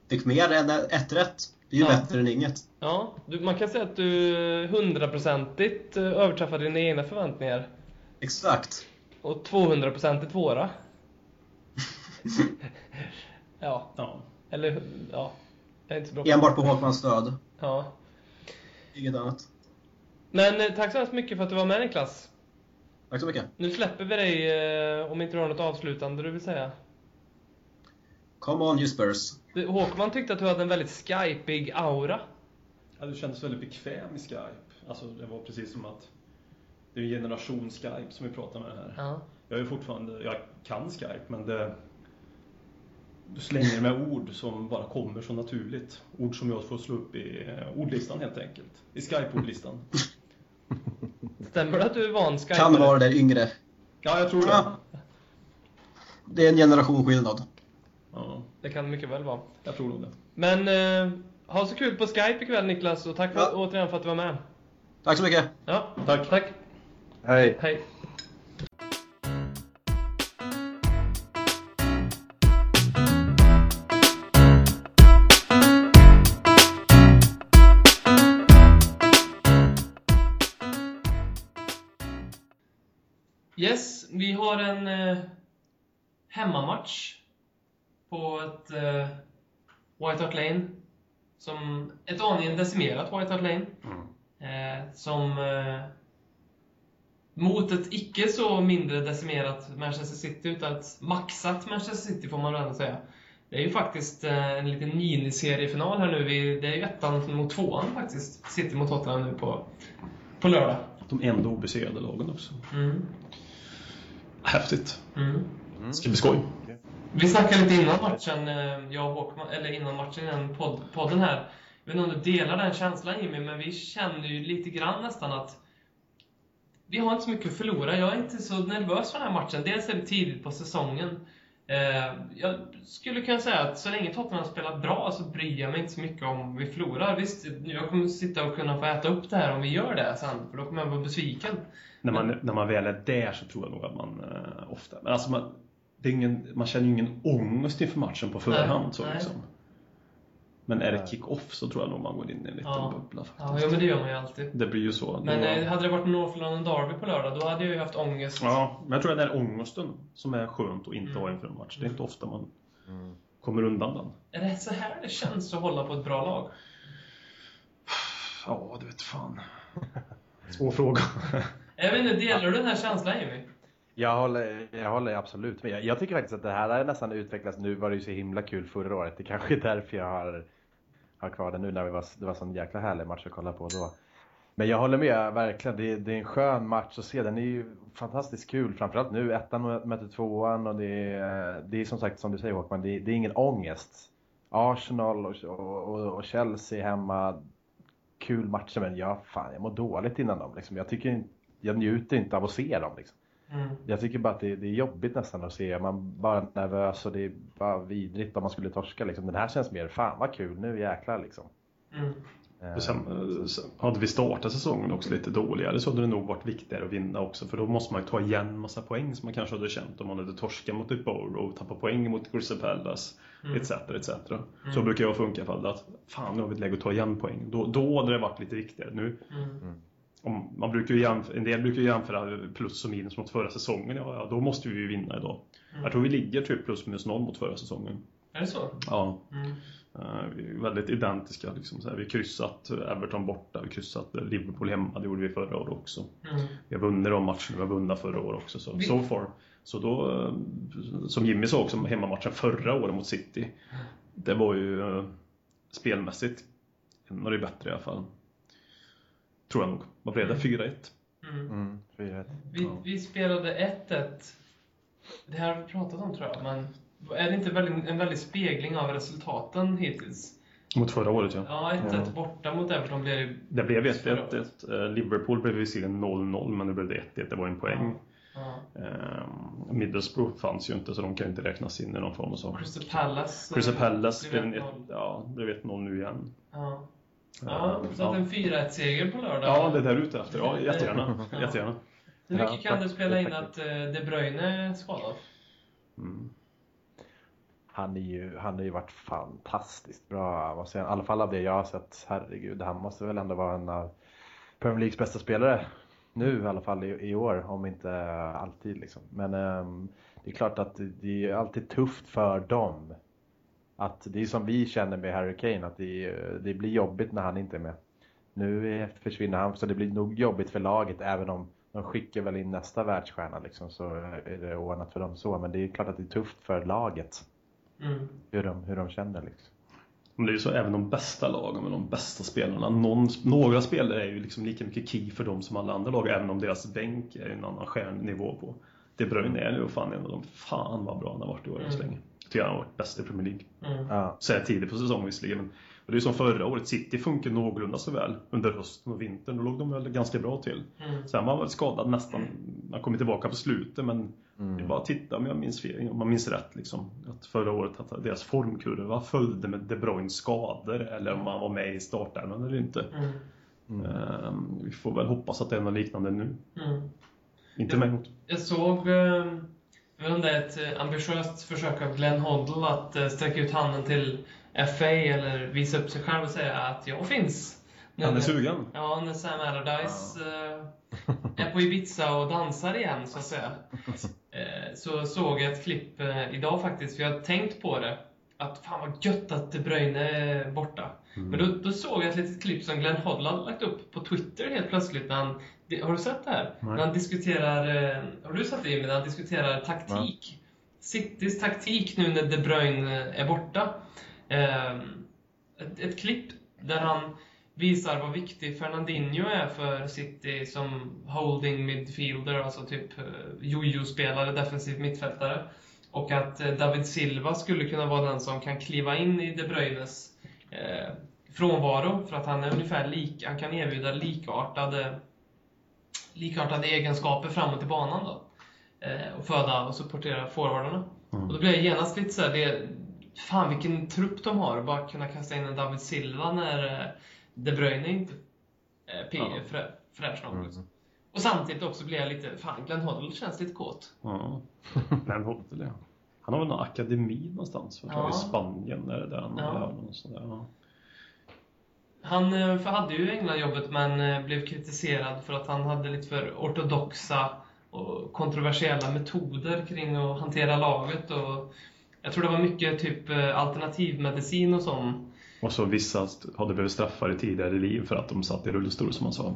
Speaker 5: Fick mer än ett rätt. Det är ju
Speaker 2: Ja.
Speaker 5: bättre än inget.
Speaker 2: Ja, du, man kan säga att du hundraprocentigt eh, överträffade dina egna förväntningar
Speaker 5: Exakt.
Speaker 2: och 200-procentigt
Speaker 5: *laughs*
Speaker 2: våra. ja,
Speaker 4: Ja.
Speaker 2: eller ja, jag är inte så bra på
Speaker 5: Enbart på Håkmans död.
Speaker 2: ja.
Speaker 5: Inget annat.
Speaker 2: Men eh, tack så hemskt mycket för att du var med Niklas.
Speaker 5: Tack så mycket.
Speaker 2: Nu släpper vi dig eh, om inte du har något avslutande du vill säga.
Speaker 5: Come on you Spurs.
Speaker 2: Du, Håkman tyckte att du hade en väldigt skypig aura.
Speaker 4: Ja, du kändes väldigt bekväm i Skype. Alltså, det var precis som att det är en generation Skype som vi pratar med här.
Speaker 2: Ja.
Speaker 4: Jag är fortfarande, jag kan Skype, men det, du slänger med ord som bara kommer så naturligt. Ord som jag får slå upp i eh, ordlistan helt enkelt. I Skype-ordlistan.
Speaker 2: Stämmer det att du är van skypare?
Speaker 5: Kan vara det där yngre.
Speaker 4: Ja, jag tror det.
Speaker 5: Ja. Det är en generationsskillnad.
Speaker 4: Ja,
Speaker 2: Det kan det mycket väl vara.
Speaker 4: jag tror nog det.
Speaker 2: Men eh, ha så kul på Skype ikväll Niklas och tack för,
Speaker 5: Ja.
Speaker 2: återigen för att du var med.
Speaker 5: Tack så mycket.
Speaker 2: Ja,
Speaker 4: Tack.
Speaker 2: tack.
Speaker 3: Hej.
Speaker 2: Hej. Yes, vi har en eh, hemmamatch på ett eh, White Hart Lane. Som ett aningen decimerat White Hart Lane. Eh, som eh, mot ett icke så mindre decimerat Manchester City, utan ett maxat Manchester City får man väl ändå säga. Det är ju faktiskt eh, en liten miniseriefinal här nu. Vi, det är ju ettan mot tvåan faktiskt. City mot Tottenham nu på, på lördag.
Speaker 4: De enda obesegrade lagen också.
Speaker 2: Mm.
Speaker 4: Häftigt.
Speaker 2: Mm.
Speaker 4: Ska bli skoj.
Speaker 2: Vi snackade lite innan matchen, eh, jag och Håkman, eller innan matchen, innan podd, podden här. Jag vet inte om du delar den känslan Jimmy, men vi känner ju lite grann nästan att vi har inte så mycket att förlora. Jag är inte så nervös för den här matchen. Dels är det tidigt på säsongen. Eh, Jag skulle kunna säga att så länge Tottenham spelar bra så bryr jag mig inte så mycket om vi förlorar. Visst, jag kommer sitta och kunna få äta upp det här om vi gör det sen, för då kommer jag vara besviken.
Speaker 4: När man, när man väl är där så tror jag nog att man eh, ofta... Men alltså man, det är ingen, man känner ju ingen ångest inför matchen på förhand.
Speaker 2: Nej,
Speaker 4: så,
Speaker 2: nej.
Speaker 4: liksom. Men är det
Speaker 3: Nej.
Speaker 4: kick-off så tror jag nog man går in i en liten
Speaker 2: Ja.
Speaker 4: bubbla
Speaker 2: Ja,
Speaker 4: faktiskt.
Speaker 2: ja, men det gör man ju alltid.
Speaker 4: Det blir ju så.
Speaker 2: Men
Speaker 4: Då-
Speaker 2: eh, hade det varit North London Derby på lördag, då hade jag ju haft ångest.
Speaker 4: Ja, men jag tror att det är ångesten som är skönt att inte
Speaker 2: Mm.
Speaker 4: ha inför en match. Det är inte ofta man
Speaker 3: Mm.
Speaker 4: kommer undan den.
Speaker 2: Är det så här det känns att hålla på ett bra lag?
Speaker 4: Ja, du vet fan. Svår fråga. *laughs*
Speaker 2: Jag vet inte, delar du den här känslan Jimmy?
Speaker 3: Jag håller, jag håller absolut med. Jag, jag tycker faktiskt att det här har nästan utvecklats. Nu var det ju så himla kul förra året. Det kanske är därför jag har, har kvar det nu när vi var, det var sån jäkla härlig match att kolla på då. Men jag håller med, verkligen. Det, det är en skön match att se. Den är ju fantastiskt kul. Framförallt nu. Ettan möter tvåan och det är, det är som sagt som du säger Håkman, det, det är ingen ångest. Arsenal och, och, och, och Chelsea hemma. Kul matcher men jag, fan, jag mår dåligt innan dem. Liksom. Jag, tycker, inte- jag njuter inte av att se dem. Liksom.
Speaker 2: Mm.
Speaker 3: Jag tycker bara att det, det är jobbigt nästan att se. Man är bara nervös och det är bara vidrigt om man skulle torska. Liksom. Den här känns mer, fan vad kul, nu jäklar liksom.
Speaker 2: Mm.
Speaker 3: Eh,
Speaker 4: Och sen, eh, sen hade vi startat säsongen också lite dåligare så hade det nog varit viktigare att vinna också för då måste man ju ta igen massa poäng som man kanske hade känt om man hade torskat mot ett Borough, tappat poäng mot Crystal Palace
Speaker 2: Mm.
Speaker 4: etc. etc. Så brukar jag funka i alla fall att fan nu har vi ett läge att ta igen poäng. Då, då hade det varit lite viktigare. Nu,
Speaker 2: Mm.
Speaker 4: om, man brukar ju jämföra, en del brukar ju jämföra plus och minus mot förra säsongen. Ja, ja, då måste vi ju vinna idag.
Speaker 2: Mm.
Speaker 4: Jag tror vi ligger typ plus minus noll mot förra säsongen.
Speaker 2: Är det så?
Speaker 4: Ja,
Speaker 2: Mm.
Speaker 4: Eh, Vi är väldigt identiska. Liksom, så här. Vi har kryssat Everton borta, vi har kryssat Liverpool hemma, det gjorde vi förra året också.
Speaker 2: Mm.
Speaker 4: Vi har vunnit de matcherna vi har vunnit förra året också. Så,
Speaker 2: Vi-
Speaker 4: so far. så då, eh, som Jimmy sa också, hemmamatchen förra året mot City, det var ju eh, spelmässigt en av de bättre i alla fall. Tror jag nog. Vad blev det? 4-1?
Speaker 2: Mm.
Speaker 3: Mm, 4-1.
Speaker 2: Vi,
Speaker 4: Ja.
Speaker 2: vi spelade 1-1. Det här har vi pratat om tror jag, men är det inte väldigt, en väldig spegling av resultaten hittills?
Speaker 4: Mot förra året ja.
Speaker 2: Ja, 1-1 borta mot Everton blir det ju...
Speaker 4: Det blev 1-1. Eh, Liverpool blev visserligen 0-0, men nu blev det 1-1. Det var ju en poäng.
Speaker 2: Ja.
Speaker 4: Eh, Middlesbrough fanns ju inte så de kan ju inte räknas in i någon form av sak.
Speaker 2: Crystal Palace...
Speaker 4: Crystal Palace
Speaker 2: blev
Speaker 4: blev, en-
Speaker 2: 1-0.
Speaker 4: ja, blev 1-0 nu igen.
Speaker 2: Ja. Ja,
Speaker 4: Eh,
Speaker 2: så att en 4-1-seger på lördag.
Speaker 4: ja, det är där ute efter. Ja, jättegärna.
Speaker 2: Ja.
Speaker 4: jättegärna.
Speaker 2: Hur
Speaker 3: Ja,
Speaker 2: mycket kan
Speaker 3: tack.
Speaker 2: du spela in
Speaker 3: Tack.
Speaker 2: att eh, De Bruyne är skadad?
Speaker 4: Mm.
Speaker 3: Han, är ju, han har ju varit fantastiskt bra. Måste jag, I alla fall av det jag har sett. Herregud, han måste väl ändå vara en av Premier Leagues bästa spelare. Nu i alla fall i, i år, om inte alltid. Liksom. Men ehm, det är klart att det, det är alltid tufft för dem. Att det är som vi känner med Harry Kane, att det, är- det blir jobbigt när han inte är med. Nu är, försvinner han, så det blir nog jobbigt för laget även om de skickar väl in nästa världsstjärna liksom, så är det ordnat för dem så. Men det är klart att det är tufft för laget
Speaker 2: Mm.
Speaker 3: hur de, hur de känner. Liksom.
Speaker 4: Men det är ju så även de bästa lagen med de bästa spelarna. Någon, några spelare är ju liksom lika mycket key för dem som alla andra lag, även om deras bänk är ju en annan stjärnnivå på. De Bruyne är nu fan en av dem. Fan vad bra han har varit i år än så
Speaker 2: Mm.
Speaker 4: länge. Jag tycker han har varit bäst i Premier League.
Speaker 2: Mm.
Speaker 3: Ja.
Speaker 4: så här tidigt på säsongen visserligen. Men och det är som förra året, City funkar någorlunda så väl under hösten och vintern. Då låg de väl ganska bra till.
Speaker 2: Mm.
Speaker 4: Sen var han väl skadad nästan, han kom tillbaka på slutet men det är bara att titta om jag minns fel, om man minns rätt liksom. Att förra året att deras formkurva följde med De Bruynes skador eller om han var med i startelvan eller inte.
Speaker 2: Mm.
Speaker 4: Ehm, vi får väl hoppas att det är något liknande nu.
Speaker 2: Mm.
Speaker 4: Inte mig emot.
Speaker 2: Jag såg eh, jag vet inte, ett eh, ambitiöst försök av Glenn Hoddle att eh, sträcka ut handen till FA eller visa upp sig själv och säga att jag finns. Nu
Speaker 4: Han är
Speaker 2: när-
Speaker 4: sugen.
Speaker 2: Ja, när Sam Allardyce eh, är på Ibiza och dansar igen, så att säga. Eh, så såg jag ett klipp eh, idag faktiskt, för jag har tänkt på det. Att fan vad gött att De Bruyne är borta. Men då, då såg jag ett litet klipp som Glenn Hoddle hade lagt upp på Twitter helt plötsligt. När han, det, har du sett det här?
Speaker 4: Nej.
Speaker 2: När han diskuterar, eh, har du sett det Jimmy? När han diskuterar taktik. Citys taktik nu när De Bruyne är borta. Eh, ett, ett klipp där han visar vad viktig Fernandinho är för City som holding midfielder, alltså typ eh, jojo-spelare, defensiv mittfältare. Och att eh, David Silva skulle kunna vara den som kan kliva in i De Bruynes eh, frånvaro för att han är ungefär lik, han kan erbjuda likartade, likartade egenskaper framåt i banan då. Eh, och föda och supportera forwardarna. Och då blir jag genast lite såhär, det, fan vilken trupp de har, bara kunna kasta in en David Silva när eh, De Bruyne inte eh, pigg,
Speaker 4: Ja.
Speaker 2: frä, fräsch någon liksom. Och samtidigt också blir jag lite, fan Glenn Hoddle känns lite kåt. *laughs*
Speaker 4: Ja. Glenn Hoddle, ja. Han har väl någon akademi någonstans för
Speaker 2: Ja.
Speaker 4: i Spanien? Är det där han
Speaker 2: Ja.
Speaker 4: har någon sån där? Ja.
Speaker 2: Han eh, för- hade ju England-jobbet men eh, blev kritiserad för att han hade lite för ortodoxa och kontroversiella metoder kring att hantera laget. Och jag tror det var mycket typ eh, alternativmedicin och sånt.
Speaker 4: Och så vissa st- hade blivit straffade tidigare i liv för att de satt i rullstol som man sa.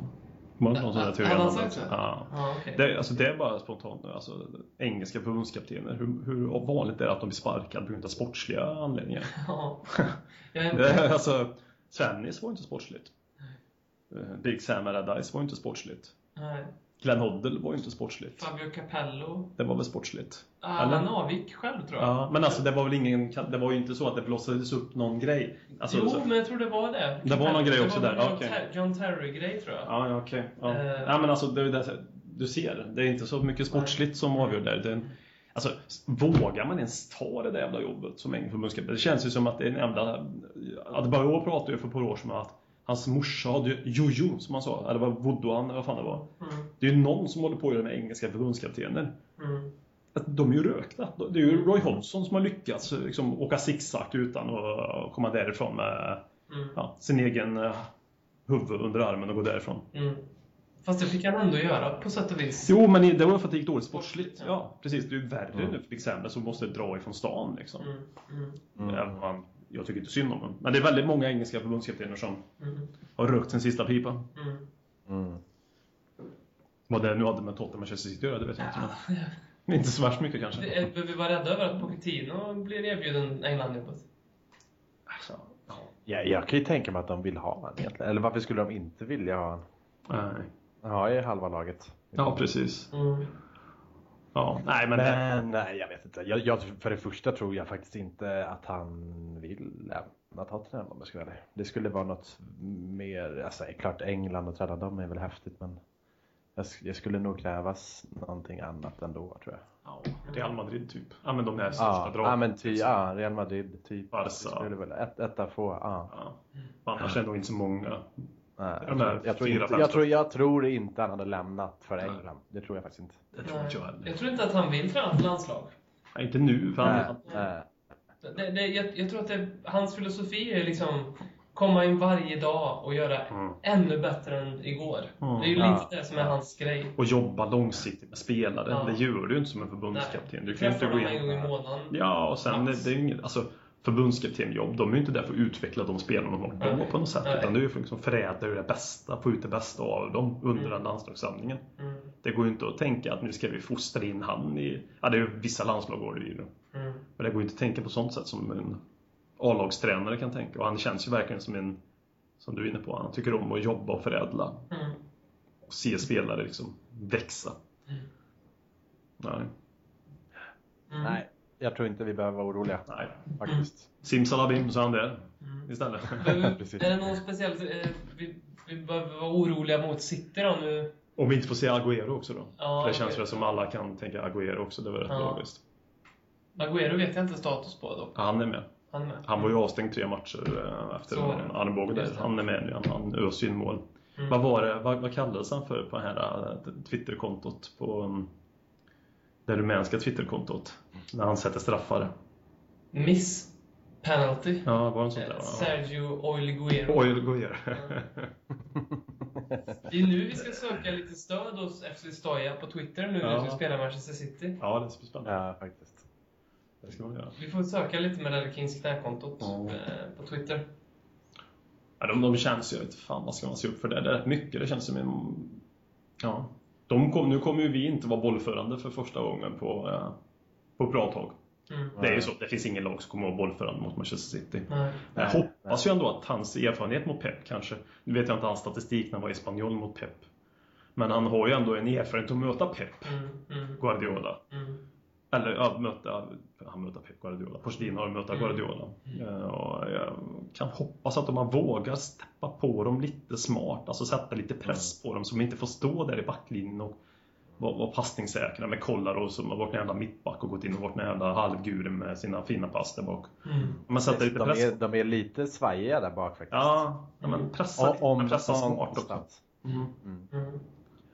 Speaker 4: Var det någon sån där teori?
Speaker 2: Hade han sagt så?
Speaker 4: Ja.
Speaker 2: Ja, okej.
Speaker 4: Det, alltså det är bara spontant nu. Alltså, engelska förbundskaptener, hur, hur vanligt är det att de blir sparkade på grund av sportsliga
Speaker 2: *laughs*
Speaker 4: anledningar? *laughs*
Speaker 2: Ja. Jag är-
Speaker 4: Det är, alltså, Svennis var inte sportsligt. Eh, Big Sam Allardyce var inte sportsligt.
Speaker 2: Nej.
Speaker 4: Glenn Hoddle var ju inte sportsligt.
Speaker 2: Fabio Capello.
Speaker 4: Det var väl sportsligt?
Speaker 2: Ah, Han
Speaker 4: Eller?
Speaker 2: avgick själv tror jag.
Speaker 4: Ja, men alltså det var väl ingen, det var ju inte så att det blossades upp någon grej. Alltså,
Speaker 2: jo,
Speaker 4: så,
Speaker 2: men jag tror det var det.
Speaker 4: Det var någon grej också
Speaker 2: det var
Speaker 4: där,
Speaker 2: John,
Speaker 4: okej.
Speaker 2: Ter- John Terry-grej tror jag.
Speaker 4: Ja, ja, okej. Ja.
Speaker 2: Eh.
Speaker 4: ja, men alltså det är ju det, du ser, det är inte så mycket sportsligt som avgör där. Det är en, alltså, s- vågar man ens ta det där jävla jobbet som egen förbundskapten? Det känns ju som att det är en jävla... Att Barrot pratade ju för ett par år sedan om att hans morsa hade ju jojo, som han sa, eller vad voodooan, vad fan det var.
Speaker 2: Mm,
Speaker 4: Det är ju någon som håller på med engelska förbundskaptener.
Speaker 2: mm,
Speaker 4: Att De är ju rökta. Det är ju Roy Hodgson som har lyckats liksom, åka zigzag utan att komma därifrån med
Speaker 2: mm.
Speaker 4: ja, sin egen eh, huvud under armen och gå därifrån.
Speaker 2: Mm. Fast det fick han ändå göra på sätt och vis.
Speaker 4: Jo, men i- det var för att det gick dåligt sportsligt.
Speaker 2: Ja.
Speaker 4: Ja, precis. Det är ju värre
Speaker 3: Mm.
Speaker 4: nu för exempel som måste dra ifrån stan. Liksom.
Speaker 2: Mm, mm,
Speaker 3: Mm.
Speaker 4: Även om man, jag tycker inte synd om honom. Men det är väldigt många engelska förbundskaptener som
Speaker 2: mm,
Speaker 4: har rökt sin sista pipa.
Speaker 2: mm.
Speaker 3: Mm.
Speaker 4: Vad det nu hade med Tottenham och Manchester City att göra, det vet jag inte. Men inte så värst mycket kanske.
Speaker 2: Det är- Behöver Eh, vi vara rädda över att Pochettino blir erbjuden England-jobbet?
Speaker 4: Alltså, ja.
Speaker 3: Ja, jag kan ju tänka mig att de vill ha honom egentligen. Eller varför skulle de inte vilja ha honom?
Speaker 4: Nej.
Speaker 3: Han har ju halva laget.
Speaker 4: Ja, precis.
Speaker 2: Mm.
Speaker 4: Ja. Nej, men...
Speaker 3: Men nej, jag vet inte. Jag, jag, för det första tror jag faktiskt inte att han vill lämna Tottenham om jag ska vara ärlig. Det skulle vara något mer, alltså klart England och träna dem är väl häftigt men jag, sk- det skulle nog krävas någonting annat ändå tror jag.
Speaker 4: Ja, Real Madrid typ. Ja, men de där sista
Speaker 3: Ja,
Speaker 4: dragen.
Speaker 3: ja men ty, ja, Real Madrid, typ.
Speaker 4: Barca.
Speaker 3: Det skulle väl, ett, ett av få, ja.
Speaker 4: Ja. Annars är det nog inte så många.
Speaker 3: Nej,
Speaker 4: De där
Speaker 3: jag, tror
Speaker 4: fyra,
Speaker 3: inte,
Speaker 4: fem
Speaker 3: jag, tror, jag tror inte han hade lämnat för
Speaker 4: Nej.
Speaker 3: England. Det tror jag faktiskt inte.
Speaker 4: Det tror inte jag heller.
Speaker 2: Jag tror inte att han vill träna för landslag.
Speaker 4: Nej, inte nu. För
Speaker 3: Nej,
Speaker 4: han,
Speaker 3: nej.
Speaker 2: Det, det, jag, jag tror att det, hans filosofi är liksom komma in varje dag och göra
Speaker 4: Mm.
Speaker 2: ännu bättre än igår.
Speaker 4: Mm,
Speaker 2: Det är ju
Speaker 3: ja.
Speaker 2: lite det som är hans grej.
Speaker 4: och jobba långsiktigt med spelare.
Speaker 2: Ja.
Speaker 4: Det gör du ju inte som en förbundskapten. Du kan ju
Speaker 2: Träffar
Speaker 4: inte gå
Speaker 2: dem en
Speaker 4: in...
Speaker 2: gång i
Speaker 4: *laughs*
Speaker 2: månaden.
Speaker 4: Ja, och sen det, det är ju inget... Alltså, förbundskaptenjobb, de är ju inte där för att utveckla de spelarna de har
Speaker 2: Nej.
Speaker 4: på, på något sätt.
Speaker 2: Nej.
Speaker 4: Utan det är ju för att liksom förädla det bästa, få ut det bästa av dem under den landslagssamlingen.
Speaker 2: Mm,
Speaker 4: Det går ju inte att tänka att nu ska vi fostra in han i... Ja, det är ju vissa landslag går det ju.
Speaker 2: mm,
Speaker 4: Men det går ju inte att tänka på sånt sätt som en A-lagstränare kan tänka. Och han känns ju verkligen som en, som du är inne på, han tycker om att jobba och förädla.
Speaker 2: mm.
Speaker 4: Och se spelare liksom växa. Nej.
Speaker 2: Mm.
Speaker 3: nej, jag tror inte vi behöver vara oroliga
Speaker 4: Nej.
Speaker 3: faktiskt.
Speaker 4: Simsalabim så är han där
Speaker 2: Mm. *laughs*
Speaker 4: istället.
Speaker 2: Behöver-
Speaker 3: Precis.
Speaker 2: Är det någon speciell... eh, Vi, vi behöver vara oroliga mot City då nu?
Speaker 4: Om vi inte får se Agüero också då.
Speaker 2: Ja,
Speaker 4: För det känns
Speaker 2: okej.
Speaker 4: väl som alla kan tänka Agüero också, det var rätt
Speaker 2: Ja.
Speaker 4: logiskt.
Speaker 2: Agüero vet jag inte status på dock.
Speaker 4: Ja, Han är med.
Speaker 2: Han är med.
Speaker 4: Han var ju avstängd tre matcher eh, efter
Speaker 2: Mm. Så.
Speaker 4: en armbåge där.
Speaker 2: Just det.
Speaker 4: Han är med nu, han, han öser in mål.
Speaker 2: Mm.
Speaker 4: Vad var det, vad, vad kallades han för på det här eh, Twitterkontot? På um, det rumänska Twitterkontot? När han sätter straffar.
Speaker 2: Miss penalty.
Speaker 4: Ja, var det något sånt där?
Speaker 2: Eh,
Speaker 4: Ja.
Speaker 2: Sergio Oilguero.
Speaker 4: Oj, det går ju.
Speaker 2: Det är nu vi ska söka lite stöd hos FC Stoja på Twitter nu när
Speaker 4: Ja.
Speaker 2: vi spelar Manchester City.
Speaker 4: *laughs* Ja, det är så spännande.
Speaker 3: Ja, faktiskt.
Speaker 4: Det ska man göra.
Speaker 2: Vi får söka lite med Ledder Kings knäkontot
Speaker 5: Ja.
Speaker 2: eh, på Twitter.
Speaker 4: Ja, de, de känns ju, jag vet fan vad ska man se upp för det? Det är rätt mycket, det känns som en... Ja. De kom, nu kommer ju vi inte vara bollförande för första gången på eh, på bra tag.
Speaker 2: Mm.
Speaker 4: Det är ju så, det finns ingen lag som kommer att vara bollförande mot Manchester City.
Speaker 2: Nej.
Speaker 4: Jag hoppas ju ändå att hans erfarenhet mot Pep kanske, nu vet jag inte hans statistik när han var i Spanjol mot Pep, men han har ju ändå en erfarenhet att möta Pep
Speaker 2: Mm, mm,
Speaker 4: Guardiola.
Speaker 2: mm.
Speaker 4: Eller ja, möta, han möter Pep Guardiola, Pochettino har möta
Speaker 2: Mm.
Speaker 4: Guardiola. Eh, Och jag kan hoppas att om man vågar steppa på dem lite smart, alltså sätta lite press
Speaker 2: Mm.
Speaker 4: på dem så de inte får stå där i backlinjen och vara vara passningssäkra med Kolarov som har varit en jävla mittback och gått in och varit en jävla halvgud med sina fina pass där bak.
Speaker 2: Mm.
Speaker 4: Men sätta lite
Speaker 3: de,
Speaker 4: press
Speaker 3: är, de är lite svajiga där bak faktiskt.
Speaker 4: Ja, ja, men pressa,
Speaker 3: O- om
Speaker 4: pressa
Speaker 3: om
Speaker 4: smart också.
Speaker 3: någonstans.
Speaker 4: Mm.
Speaker 2: Mm.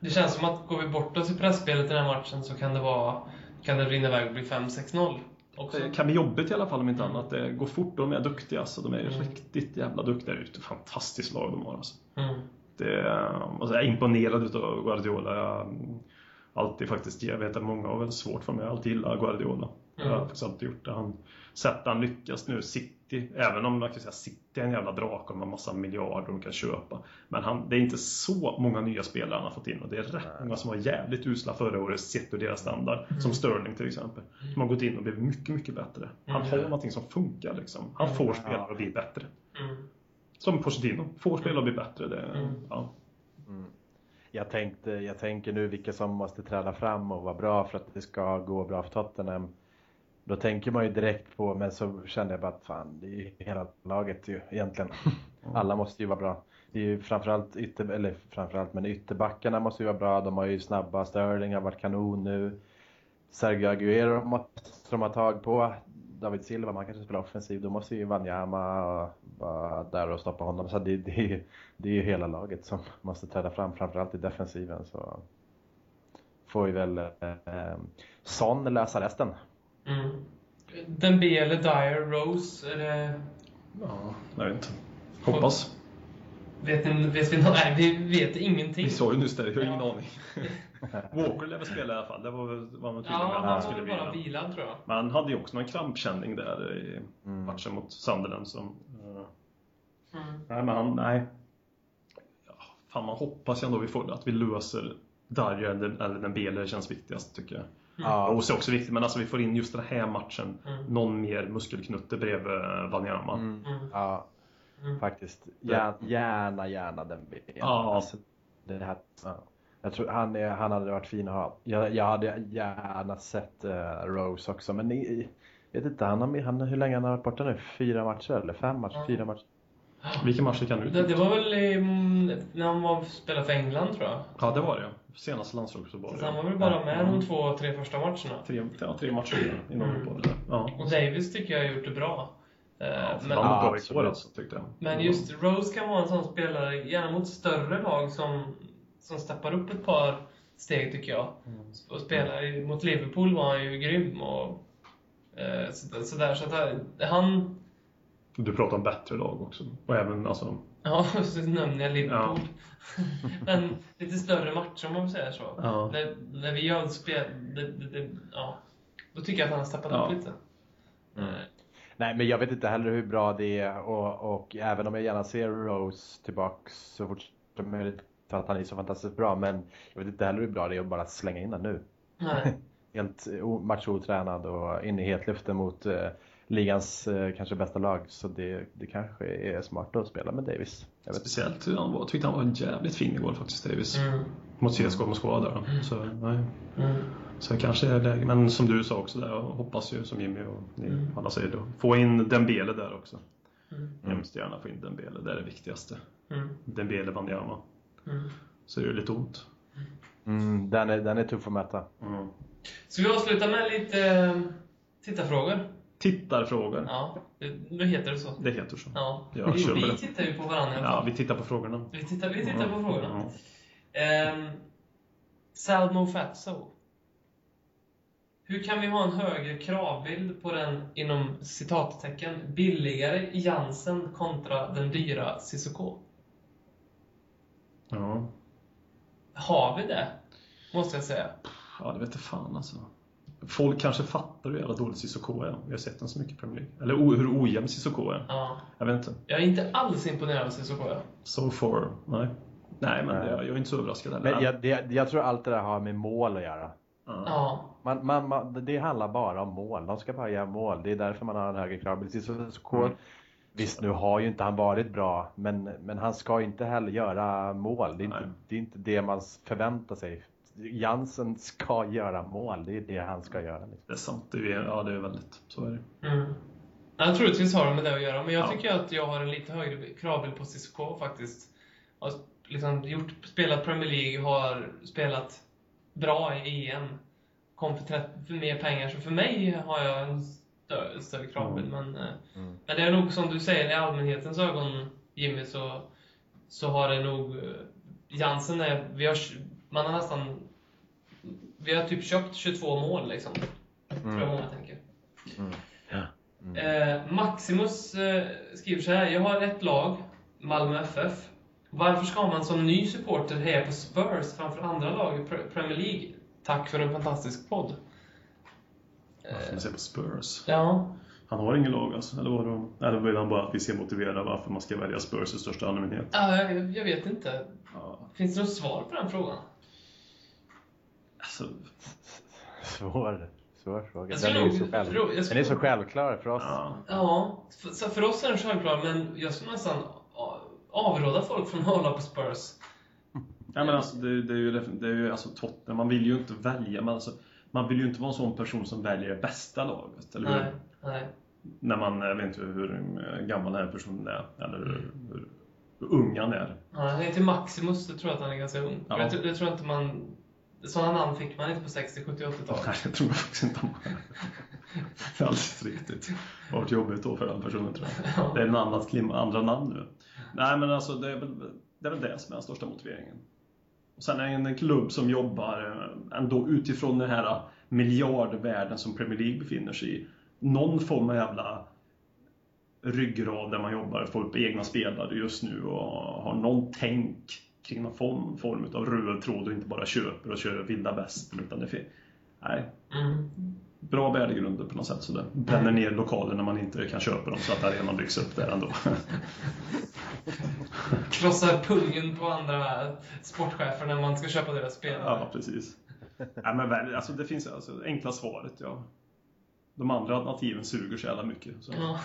Speaker 2: Det känns som att går vi bort oss i pressspelet i den här matchen så kan det vara kan det rinna iväg och bli 5-6-0 också.
Speaker 4: Det kan bli jobbigt i alla fall om inte annat. Det går fort och de är duktiga. Så de är ju
Speaker 2: Mm.
Speaker 4: riktigt jävla duktiga. Det är ju ett fantastiskt lag de har. Alltså.
Speaker 2: Mm.
Speaker 4: Det, är- alltså, jag är imponerad utav Guardiola. Jag, alltid faktiskt, jag vet att många har väl svårt för mig. Jag har alltid gillat Guardiola. Jag har
Speaker 2: Mm.
Speaker 4: faktiskt alltid gjort det. Han, sett han lyckas nu. City, även om man kan säga City är en jävla drake och de har massa miljarder de kan köpa. Men han, det är inte så många nya spelare han har fått in och det är rätt många som var jävligt usla förra året sett ur deras standard.
Speaker 2: Mm.
Speaker 4: Som Sterling till exempel. Som har gått in och blivit mycket, mycket bättre. Han
Speaker 2: Mm.
Speaker 4: har någonting som funkar liksom. Han får spelare att bli bättre.
Speaker 2: Mm.
Speaker 4: Som Pochettino, får spelare att bli bättre. Det,
Speaker 2: Mm.
Speaker 4: ja.
Speaker 3: Jag, tänkte, jag tänker nu vilka som måste träda fram och vara bra för att det ska gå bra för Tottenham. Då tänker man ju direkt på, men så kände jag bara att fan, det är ju hela laget ju egentligen. Alla måste ju vara bra. Det är ju framförallt, ytter, eller framförallt men ytterbackarna måste ju vara bra. De har ju snabba, Sterling har varit kanon nu. Sergio Aguero måste de ha tag på. David Silva, man kanske spelar offensiv. Då måste ju Wanyama vara där och stoppa honom. Så det, det, är ju- det är ju hela laget som *laughs* måste träda fram, framförallt i defensiven. Så får ju väl eh, Son lösa resten.
Speaker 2: Mm. Dembele, Dyer, Rose, är det...
Speaker 4: Ja, jag vet inte. Hoppas.
Speaker 2: Vet, ni, vet vi nå- Nej, vi vet ingenting.
Speaker 4: Vi sa ju nyss det, jag har ingen
Speaker 2: Ja. *laughs*
Speaker 4: aning. Walker lär väl spela i alla fall, det var väl vad man tydlig med
Speaker 2: Ja,
Speaker 4: att
Speaker 2: han
Speaker 4: han
Speaker 2: var
Speaker 4: skulle
Speaker 2: väl bara
Speaker 4: bli.
Speaker 2: vilad tror jag.
Speaker 4: Men han hade ju också någon krampkänning där i
Speaker 3: Mm.
Speaker 4: matchen mot Sunderland som... eh,
Speaker 2: Mm.
Speaker 4: nej, men han... Nej. Ja, fan, man hoppas ju ändå vi får, att vi löser Darja eller, eller den det känns viktigast tycker jag. Ja,
Speaker 3: Ja,
Speaker 4: Rose är också viktigt, men alltså vi får in just den här matchen
Speaker 2: Mm.
Speaker 4: någon mer muskelknutte bredvid eh, Wanyama.
Speaker 3: mm,
Speaker 2: Mm.
Speaker 3: ja
Speaker 2: Mm.
Speaker 3: faktiskt. Gärna, gärna, gärna den bilden.
Speaker 4: Ja.
Speaker 3: Alltså, det här, ja. Jag tror han, är, han hade varit fin att ha. Jag, jag hade gärna sett eh, Rose också, men ni, vet inte han, har- han, hur länge han har varit borta nu? Fyra matcher eller fem matcher?
Speaker 2: Ja.
Speaker 3: Fyra matcher?
Speaker 4: Vilken match gick han ut
Speaker 2: Det, det var väl mm, när han var spelade för England tror jag.
Speaker 4: Ja, det var det. Senaste landslaget så var
Speaker 2: Så
Speaker 4: det.
Speaker 2: han var väl bara med
Speaker 4: Mm.
Speaker 2: de två, tre första matcherna.
Speaker 4: Tre, ja, tre matcher innan
Speaker 2: Mm.
Speaker 4: uppehållet. Ja.
Speaker 2: Och Davis tycker jag har gjort det bra. Eh,
Speaker 4: Men,
Speaker 2: men,
Speaker 3: Ja,
Speaker 4: han var bra igår
Speaker 3: absolut.
Speaker 4: alltså, tyckte jag.
Speaker 2: men just Rose kan vara en sån spelare, gärna mot större lag som, som steppar upp ett par steg tycker jag. Och spelar i- mot Liverpool var han ju grym och eh, så- sådär. Så att han- han... *laughs*
Speaker 4: Du pratar om bättre lag också. Och även alltså...
Speaker 2: Ja, så nämner jag Liverpool.
Speaker 4: Ja.
Speaker 2: *laughs* men lite större matcher om man säger så.
Speaker 4: Ja.
Speaker 2: När, när vi gör spel... Det, det, det, ja. Då tycker jag att han har steppat
Speaker 4: Ja.
Speaker 2: upp lite. Eh,
Speaker 3: Mm. Nej, men jag vet inte heller hur bra det är och, och även om jag gärna ser Rose tillbaks så fort som möjligt för att han är så fantastiskt bra, men jag vet inte heller hur bra det är att bara slänga in honom nu.
Speaker 2: Nej.
Speaker 3: Helt eh, o- matchotränad och in i hetluften mot eh, ligans eh, kanske bästa lag, så det, det kanske är smart att spela med Davis. Jag vet. inte.
Speaker 4: Speciellt hur han var. Tyckte han var jävligt fin igår faktiskt, Davis.
Speaker 2: Mm.
Speaker 4: Mot CSKA Moskva där. Så, nej.
Speaker 2: Mm.
Speaker 4: så det kanske är läge. Men som du sa också där, jag hoppas ju som Jimmy och ni alla säger då. Få in Dembele där också.
Speaker 2: Mm.
Speaker 4: Hemskt gärna få in Dembele, det är det viktigaste.
Speaker 2: Mm.
Speaker 4: Dembele Wanyama.
Speaker 2: Mm.
Speaker 4: Så det är ju lite ont.
Speaker 3: Mm, den, är, den är tuff att möta.
Speaker 4: Mm.
Speaker 2: Ska vi avsluta med lite eh, tittarfrågor?
Speaker 4: Tittarfrågor.
Speaker 2: Ja, det- nu heter det så.
Speaker 4: Det heter så.
Speaker 2: Ja.
Speaker 4: Jag
Speaker 2: vi,
Speaker 4: köper
Speaker 2: vi
Speaker 4: det.
Speaker 2: tittar ju på varandra. i alla
Speaker 4: Ja,
Speaker 2: fall.
Speaker 4: vi tittar på frågorna.
Speaker 2: Vi tittar, vi tittar på frågorna.
Speaker 4: Mm.
Speaker 2: Ehm, Salmo Fatso. Hur kan vi ha en högre kravbild på den inom citattecken billigare Jansen kontra den dyra Sissoko?
Speaker 4: Ja.
Speaker 2: Har vi det? Måste jag säga.
Speaker 4: Ja, det vet jag fan alltså. Folk kanske fattar hur jävla dålig Cissoko är. Vi har sett den så mycket i Premier League. Eller o- hur ojämn Cissoko är.
Speaker 2: Ja.
Speaker 4: Jag vet inte.
Speaker 2: Jag är inte alls imponerad av Sissoko. jag.
Speaker 4: So far, nej. Nej, men jag, jag är inte så överraskad heller.
Speaker 3: Men jag, det, jag tror allt det där har med mål att göra.
Speaker 4: ja.
Speaker 2: Ja.
Speaker 3: Man, man, man, det handlar bara om mål. De ska bara göra mål. Det är därför man har en högre krav. Precis som SK.
Speaker 2: Mm.
Speaker 3: Visst, nu har ju inte han varit bra, men, men han ska ju inte heller göra mål. Det är
Speaker 4: Nej.
Speaker 3: inte, det är inte det man förväntar sig. Jansen ska göra mål. Det är det han ska göra. Liksom.
Speaker 4: Det är sant, det är, ja det är väldigt, så är det.
Speaker 2: Mm. Ja, troligtvis har det med det att göra, men jag
Speaker 4: Ja.
Speaker 2: tycker att jag har en lite högre kravbild på CSK faktiskt. Jag har liksom gjort, spelat Premier League, har spelat bra i EM. Kom för, 30, för mer pengar, så för mig har jag en större, större kravbild. Men, eh,
Speaker 3: Mm.
Speaker 2: men det är nog som du säger, i allmänhetens ögon Jimmy, så, så har det nog... eh, Jansen är... Vi har, man har nästan... Vi har typ köpt 22 mål liksom. Tror jag många tänker. Eh, Maximus eh, skriver så här. Jag har ett lag, Malmö FF. Varför ska man som ny supporter heja på Spurs framför andra lag i Pre- Premier League? Tack för en fantastisk podd. Eh,
Speaker 4: Varför man ser på Spurs.
Speaker 2: Ja,
Speaker 4: Han har ingen lag alltså, eller var det Eller vill han bara att vi ska motivera varför man ska välja Spurs i största allmänhet?
Speaker 2: ah, jag, jag vet inte.
Speaker 4: Ja,
Speaker 2: Finns det något svar på den frågan?
Speaker 4: alltså,
Speaker 3: Svår, svår
Speaker 2: Jag
Speaker 3: fråga. Den
Speaker 2: skulle
Speaker 3: är, ju
Speaker 2: nog-
Speaker 3: så själv...
Speaker 2: jag
Speaker 3: Den är
Speaker 2: skulle-
Speaker 3: så självklar för oss. *laughs*
Speaker 4: ja.
Speaker 2: Ja, för, så för oss är den självklar, men jag skulle nästan a- avråda folk från att hålla på Spurs.
Speaker 4: Ja, men alltså, det, det är ju, det är ju alltså, Tottenham, man vill ju inte välja, men alltså, man vill ju inte vara en sån person som väljer det bästa laget, eller hur?
Speaker 2: Nej, nej.
Speaker 4: När man jag vet inte hur eh, gammal den här personen är, eller hur, hur, hur ung han är.
Speaker 2: Ja, Han heter Maximus, det tror jag att han är ganska ung.
Speaker 4: Ja.
Speaker 2: Jag, tror- jag tror inte man... Sådana namn fick man inte på 60, 70, 80-talet.
Speaker 4: Nej, det tror jag faktiskt inte *laughs* han är. Det är alldeles riktigt. Det har varit jobbigt då för den personen tror jag. Det är en annat klim, andra namn nu. Nej, men alltså det är väl det, är väl det som är den största motiveringen. Och sen är det en klubb som jobbar eh, ändå utifrån den här miljardvärlden som Premier League befinner sig i. Någon form av jävla ryggrad där man jobbar, får upp egna spelare just nu och har någon tänk kring någon form, form av röd tråd och inte bara köper och kör vilda västern utan det fin- Nej,
Speaker 2: Mm.
Speaker 4: bra värdegrunder på något sätt så det bränner ner lokaler när man inte kan köpa dem så att arenan byggs upp där ändå.
Speaker 2: Krossa pungen på andra sportchefer när man ska köpa deras spelare.
Speaker 4: ja, precis. Nej, men väl, alltså, det finns alltså, enkla svaret, ja. De andra alternativen suger så jävla mycket. Så.
Speaker 2: Ja.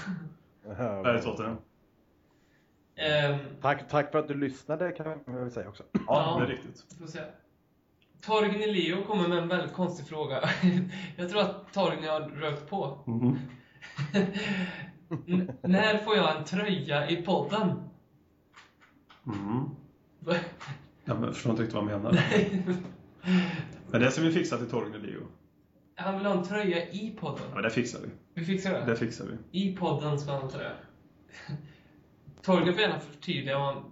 Speaker 4: Är det Tottenham?
Speaker 2: Ehm,
Speaker 3: Tack, tack för att du lyssnade kan jag väl säga också.
Speaker 4: Ja,
Speaker 2: Ja.
Speaker 4: det är riktigt.
Speaker 2: får se. Torgny Leo kommer med en väldigt konstig fråga. *laughs* Jag tror att Torgny har rökt på.
Speaker 4: Mhm.
Speaker 2: N- när får jag en tröja i podden? *laughs*
Speaker 4: Mhm. Ja, men jag förstår inte riktigt vad
Speaker 2: *laughs*
Speaker 4: han menar. Men det ska vi fixa till Torgny Leo.
Speaker 2: Han vill ha en tröja i
Speaker 4: Ja,
Speaker 2: podden.
Speaker 4: men det fixar vi.
Speaker 2: Vi fixar det.
Speaker 4: Det fixar vi.
Speaker 2: I podden ska han ha en tröja. Torgny får gärna förtydliga vad han...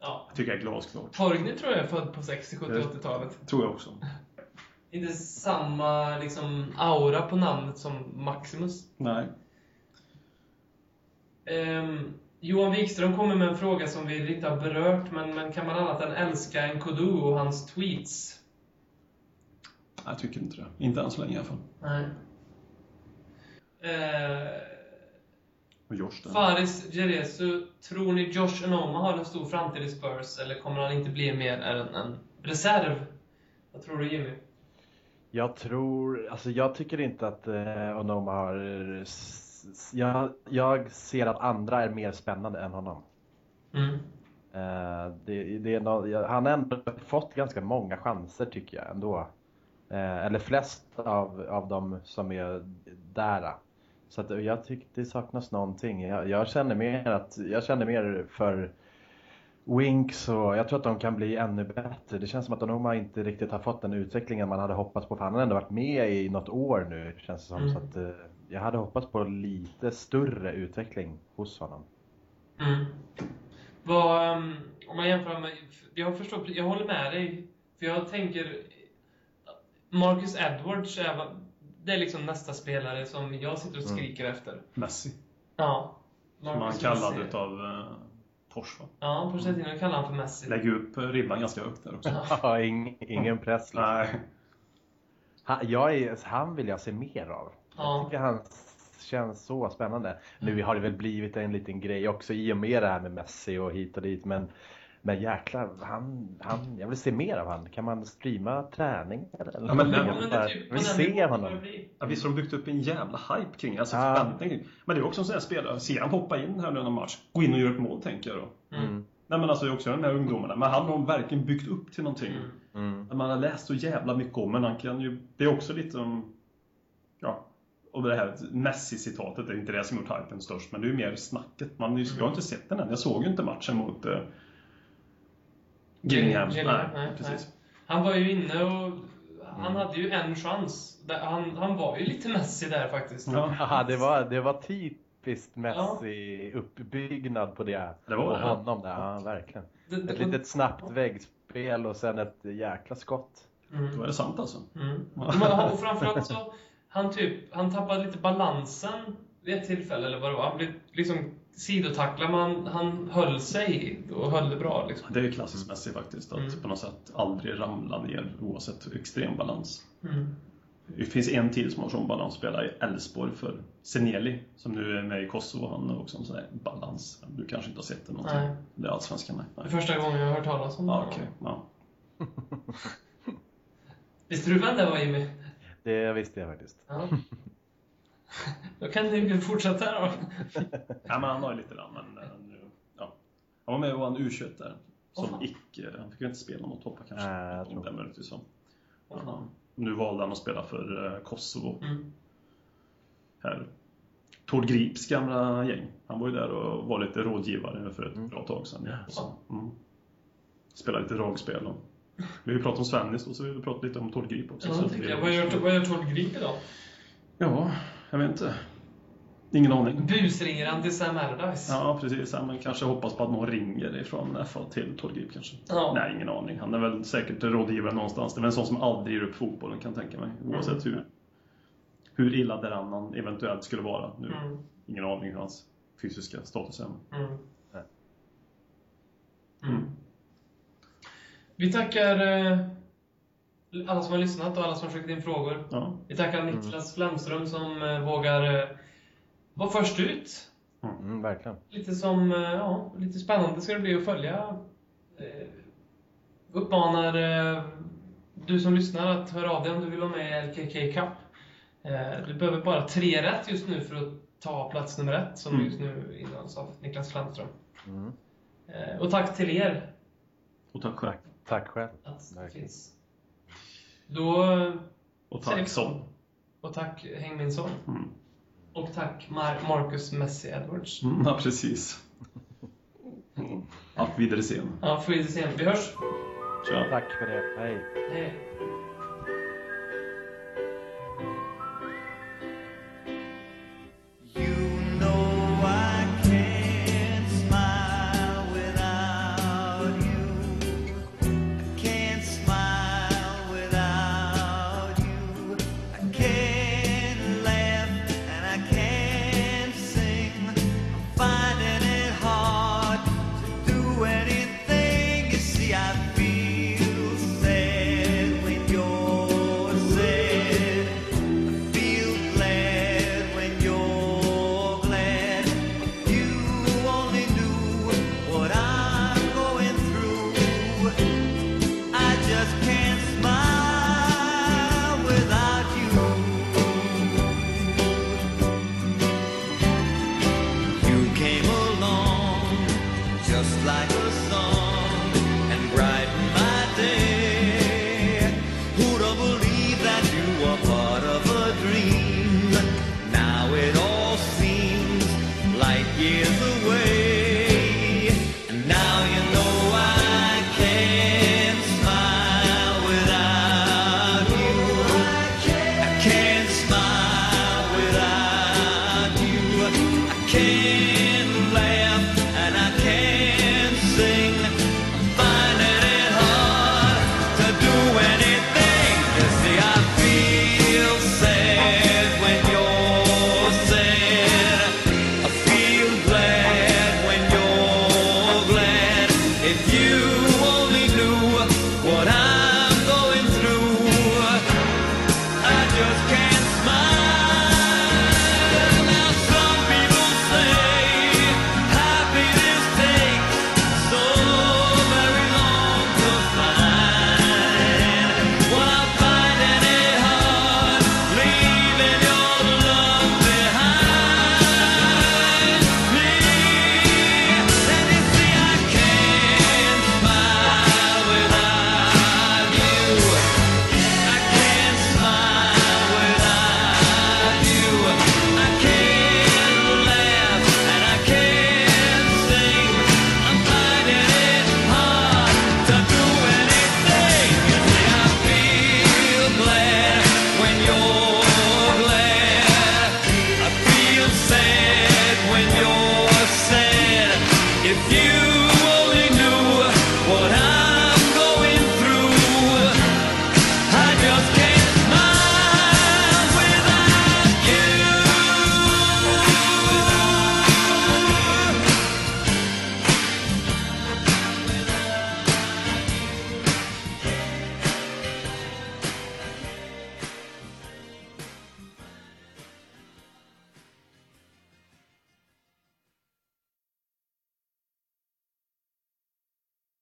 Speaker 2: Ja.
Speaker 4: Jag tycker jag är glasklart.
Speaker 2: Torgny tror jag är född på 60, 70,
Speaker 4: Det-
Speaker 2: 80-talet.
Speaker 4: Tror jag också.
Speaker 2: Inte samma liksom, aura på namnet som Maximus.
Speaker 4: Nej.
Speaker 2: Ehm, Johan Wikström kommer med en fråga som vi inte har berört, men, men kan man annat än älska en Kudu och hans tweets?
Speaker 4: Jag tycker inte det. Inte än så länge i alla fall.
Speaker 2: Nej. Eh,
Speaker 4: Och Josh där.
Speaker 2: Faris Jeresu, tror ni Josh Enoma har en stor framtid i Spurs, eller kommer han inte bli mer än en reserv? Vad tror du Jimmy?
Speaker 3: Jag tror, alltså jag tycker inte att eh, Onoma har... eh, s- s- Jag, jag ser att andra är mer spännande än honom.
Speaker 2: Mm.
Speaker 3: Eh, det, det är nå- jag- han har ändå fått ganska många chanser tycker jag ändå. Eh, eller flest av, av de som är där. Så att jag tycker det saknas någonting. Jag, jag, känner mer att, jag känner mer för Winks och jag tror att de kan bli ännu bättre. Det känns som att Onoma inte riktigt har fått den utvecklingen man hade hoppats på. För han har ändå varit med i något år nu känns det som.
Speaker 2: Mm.
Speaker 3: Så att, eh, jag hade hoppats på lite större utveckling hos honom.
Speaker 2: Mm. Vad, ehm, om man jämför med... Jag, förstår, jag håller med dig. För jag tänker... Marcus Edwards är, va- det är liksom nästa spelare som jag sitter och skriker efter.
Speaker 4: Messi.
Speaker 2: Ja.
Speaker 4: Mm. Som han
Speaker 2: Marcus
Speaker 4: kallad
Speaker 2: Messi.
Speaker 4: utav eh, Porsche. va?
Speaker 2: Ja, Pochettino kallar han för Messi.
Speaker 4: Lägger upp eh, ribban ganska högt där också.
Speaker 3: Ja, ing, ingen press liksom.
Speaker 4: Nej.
Speaker 3: Han, jag är, alltså, han vill jag se mer av.
Speaker 2: Ja.
Speaker 3: Jag tycker han känns så
Speaker 4: Mm.
Speaker 3: spännande. Nu har det väl blivit en liten grej också i och med det här med Messi och hit och dit. Men, Men jäklar, han, han, jag vill se mer av han. Kan man streama träning? Eller?
Speaker 4: Ja, men-
Speaker 3: någonting?
Speaker 4: ja,
Speaker 2: men det är
Speaker 3: Bara-
Speaker 2: typ
Speaker 3: jag vill
Speaker 2: på den
Speaker 3: se
Speaker 2: nivån
Speaker 3: honom.
Speaker 2: börjar bli.
Speaker 4: Ja, visst har de byggt upp en jävla hype kring det, alltså
Speaker 3: Ja.
Speaker 4: förväntningar kring Men det är också en sån här spelare, ser han hoppa in här nu i någon match, gå in och göra ett mål tänker jag då.
Speaker 3: Mm.
Speaker 4: Nej men alltså det är också de här ungdomarna, men han har de verkligen byggt upp till någonting.
Speaker 2: Mm.
Speaker 3: Mm.
Speaker 4: Man har läst så jävla mycket om men han kan ju, det är också lite om, ja, och det här Messi-citatet, det är inte det som gjort hypen störst, men det är ju mer snacket. Man, är ju- Jag har inte sett den än, jag såg ju inte matchen mot eh, Gillingham.
Speaker 2: Gillingham,
Speaker 4: Nej,
Speaker 2: nej,
Speaker 4: precis.
Speaker 2: Han var ju inne och han hade ju en chans. Där- Han, han var ju lite Messi där faktiskt.
Speaker 4: Ja.
Speaker 3: mm. Aha, det, var, det var typiskt Messi uppbyggnad på det.
Speaker 4: Det var
Speaker 3: på
Speaker 4: det.
Speaker 3: honom där, ja verkligen.
Speaker 2: Det, det,
Speaker 3: Ett litet snabbt väggspel och sen ett jäkla skott.
Speaker 2: Mm.
Speaker 4: Då är det sant alltså.
Speaker 2: Mm. Men, och framförallt så, han, typ, han tappade lite balansen vid ett tillfälle, eller vad det var. Han blev liksom sidotacklad, men han, han höll sig och höll det bra. Liksom.
Speaker 4: Det är ju klassiskt Messi faktiskt, att
Speaker 2: Mm.
Speaker 4: på något sätt aldrig ramla ner oavsett extrem balans.
Speaker 2: Mm.
Speaker 4: Det finns en till som har sån balans, spelar i Elfsborg för Seneli, som nu är med i Kosovo. Han har också en sån här balans. Du kanske inte har sett det någonting?
Speaker 2: Nej.
Speaker 4: Det är allsvenskan, nej.
Speaker 2: Det är
Speaker 4: nej.
Speaker 2: första gången jag har hört talas om
Speaker 4: Ja,
Speaker 2: det.
Speaker 4: okej. Ja.
Speaker 2: Visste du vem det var, Jimmy?
Speaker 3: Det visste jag faktiskt.
Speaker 2: Ja. Då kan ni fortsätta då.
Speaker 4: ja, men han har ju lite där, men eh, nu- ja. Han var med och vann U21 där.
Speaker 2: Mm. Åh,
Speaker 4: Som
Speaker 2: fan.
Speaker 4: gick, eh, han fick ju inte spela mot Hoppa kanske.
Speaker 3: Nej, jag
Speaker 4: Om
Speaker 3: tror
Speaker 4: det är möjligtvis så.
Speaker 2: Åh, fan.
Speaker 4: Ja. Nu valde han att spela för eh, Kosovo.
Speaker 2: Mm.
Speaker 4: här Tord Grips gamla gäng. Han var ju där och var lite rådgivare för ett
Speaker 3: Mm.
Speaker 4: bra tag sedan. Ja. Och så, mm. Spelade lite dragspel. Och. Vi har ju pratat om Svennis och så vill vi prata lite om Tord Grip också.
Speaker 2: Ja,
Speaker 4: Så
Speaker 2: det
Speaker 4: det-
Speaker 2: tycker jag. Vad gör, vad gör Tord Grip idag?
Speaker 4: Ja, jag vet inte. Ingen aning.
Speaker 2: Busringer han till Sam Allardyce?
Speaker 4: Ja, precis. Ja, men kanske hoppas på att någon ringer ifrån FA till Tord Grip kanske.
Speaker 2: Ja.
Speaker 4: Nej, ingen aning. Han är väl säkert rådgivare någonstans. Det är väl en sån som aldrig ger upp fotbollen kan jag tänka mig.
Speaker 2: Mm.
Speaker 4: Oavsett hur, hur illa därannan eventuellt skulle vara. Nu,
Speaker 2: Mm.
Speaker 4: Ingen aning hur hans fysiska status är.
Speaker 2: Mm.
Speaker 3: Nej.
Speaker 2: Mm. Vi tackar eh, alla som har lyssnat och alla som har skickat in frågor.
Speaker 4: Ja.
Speaker 2: Vi tackar Niklas Flemström som eh, vågar eh, vara först ut.
Speaker 3: Mm, verkligen.
Speaker 2: Lite, som, eh, ja, lite spännande ska det bli att följa. Eh, uppmanar eh, du som lyssnar att höra av dig om du vill vara med i LKK Cup. Eh, du behöver bara tre rätt just nu för att ta plats nummer ett som
Speaker 4: Mm.
Speaker 2: just nu innehas av Niklas Flemström.
Speaker 3: Mm.
Speaker 2: Eh, och tack till er
Speaker 4: Och tack själv.
Speaker 3: Tack själv.
Speaker 2: att det
Speaker 3: Verkligen.
Speaker 2: finns. Då, eh,
Speaker 4: Och
Speaker 2: Säg.
Speaker 4: tack Son.
Speaker 2: och tack Hängminsson.
Speaker 4: Mm.
Speaker 2: Och tack Mar- Marcus Messi Edwards.
Speaker 4: Mm, ja, precis.
Speaker 2: Mm.
Speaker 4: Allt vidare sen.
Speaker 2: Ja, får vi se. Vi hörs!
Speaker 4: Tja.
Speaker 3: Tack för det. Hej.
Speaker 2: Hej!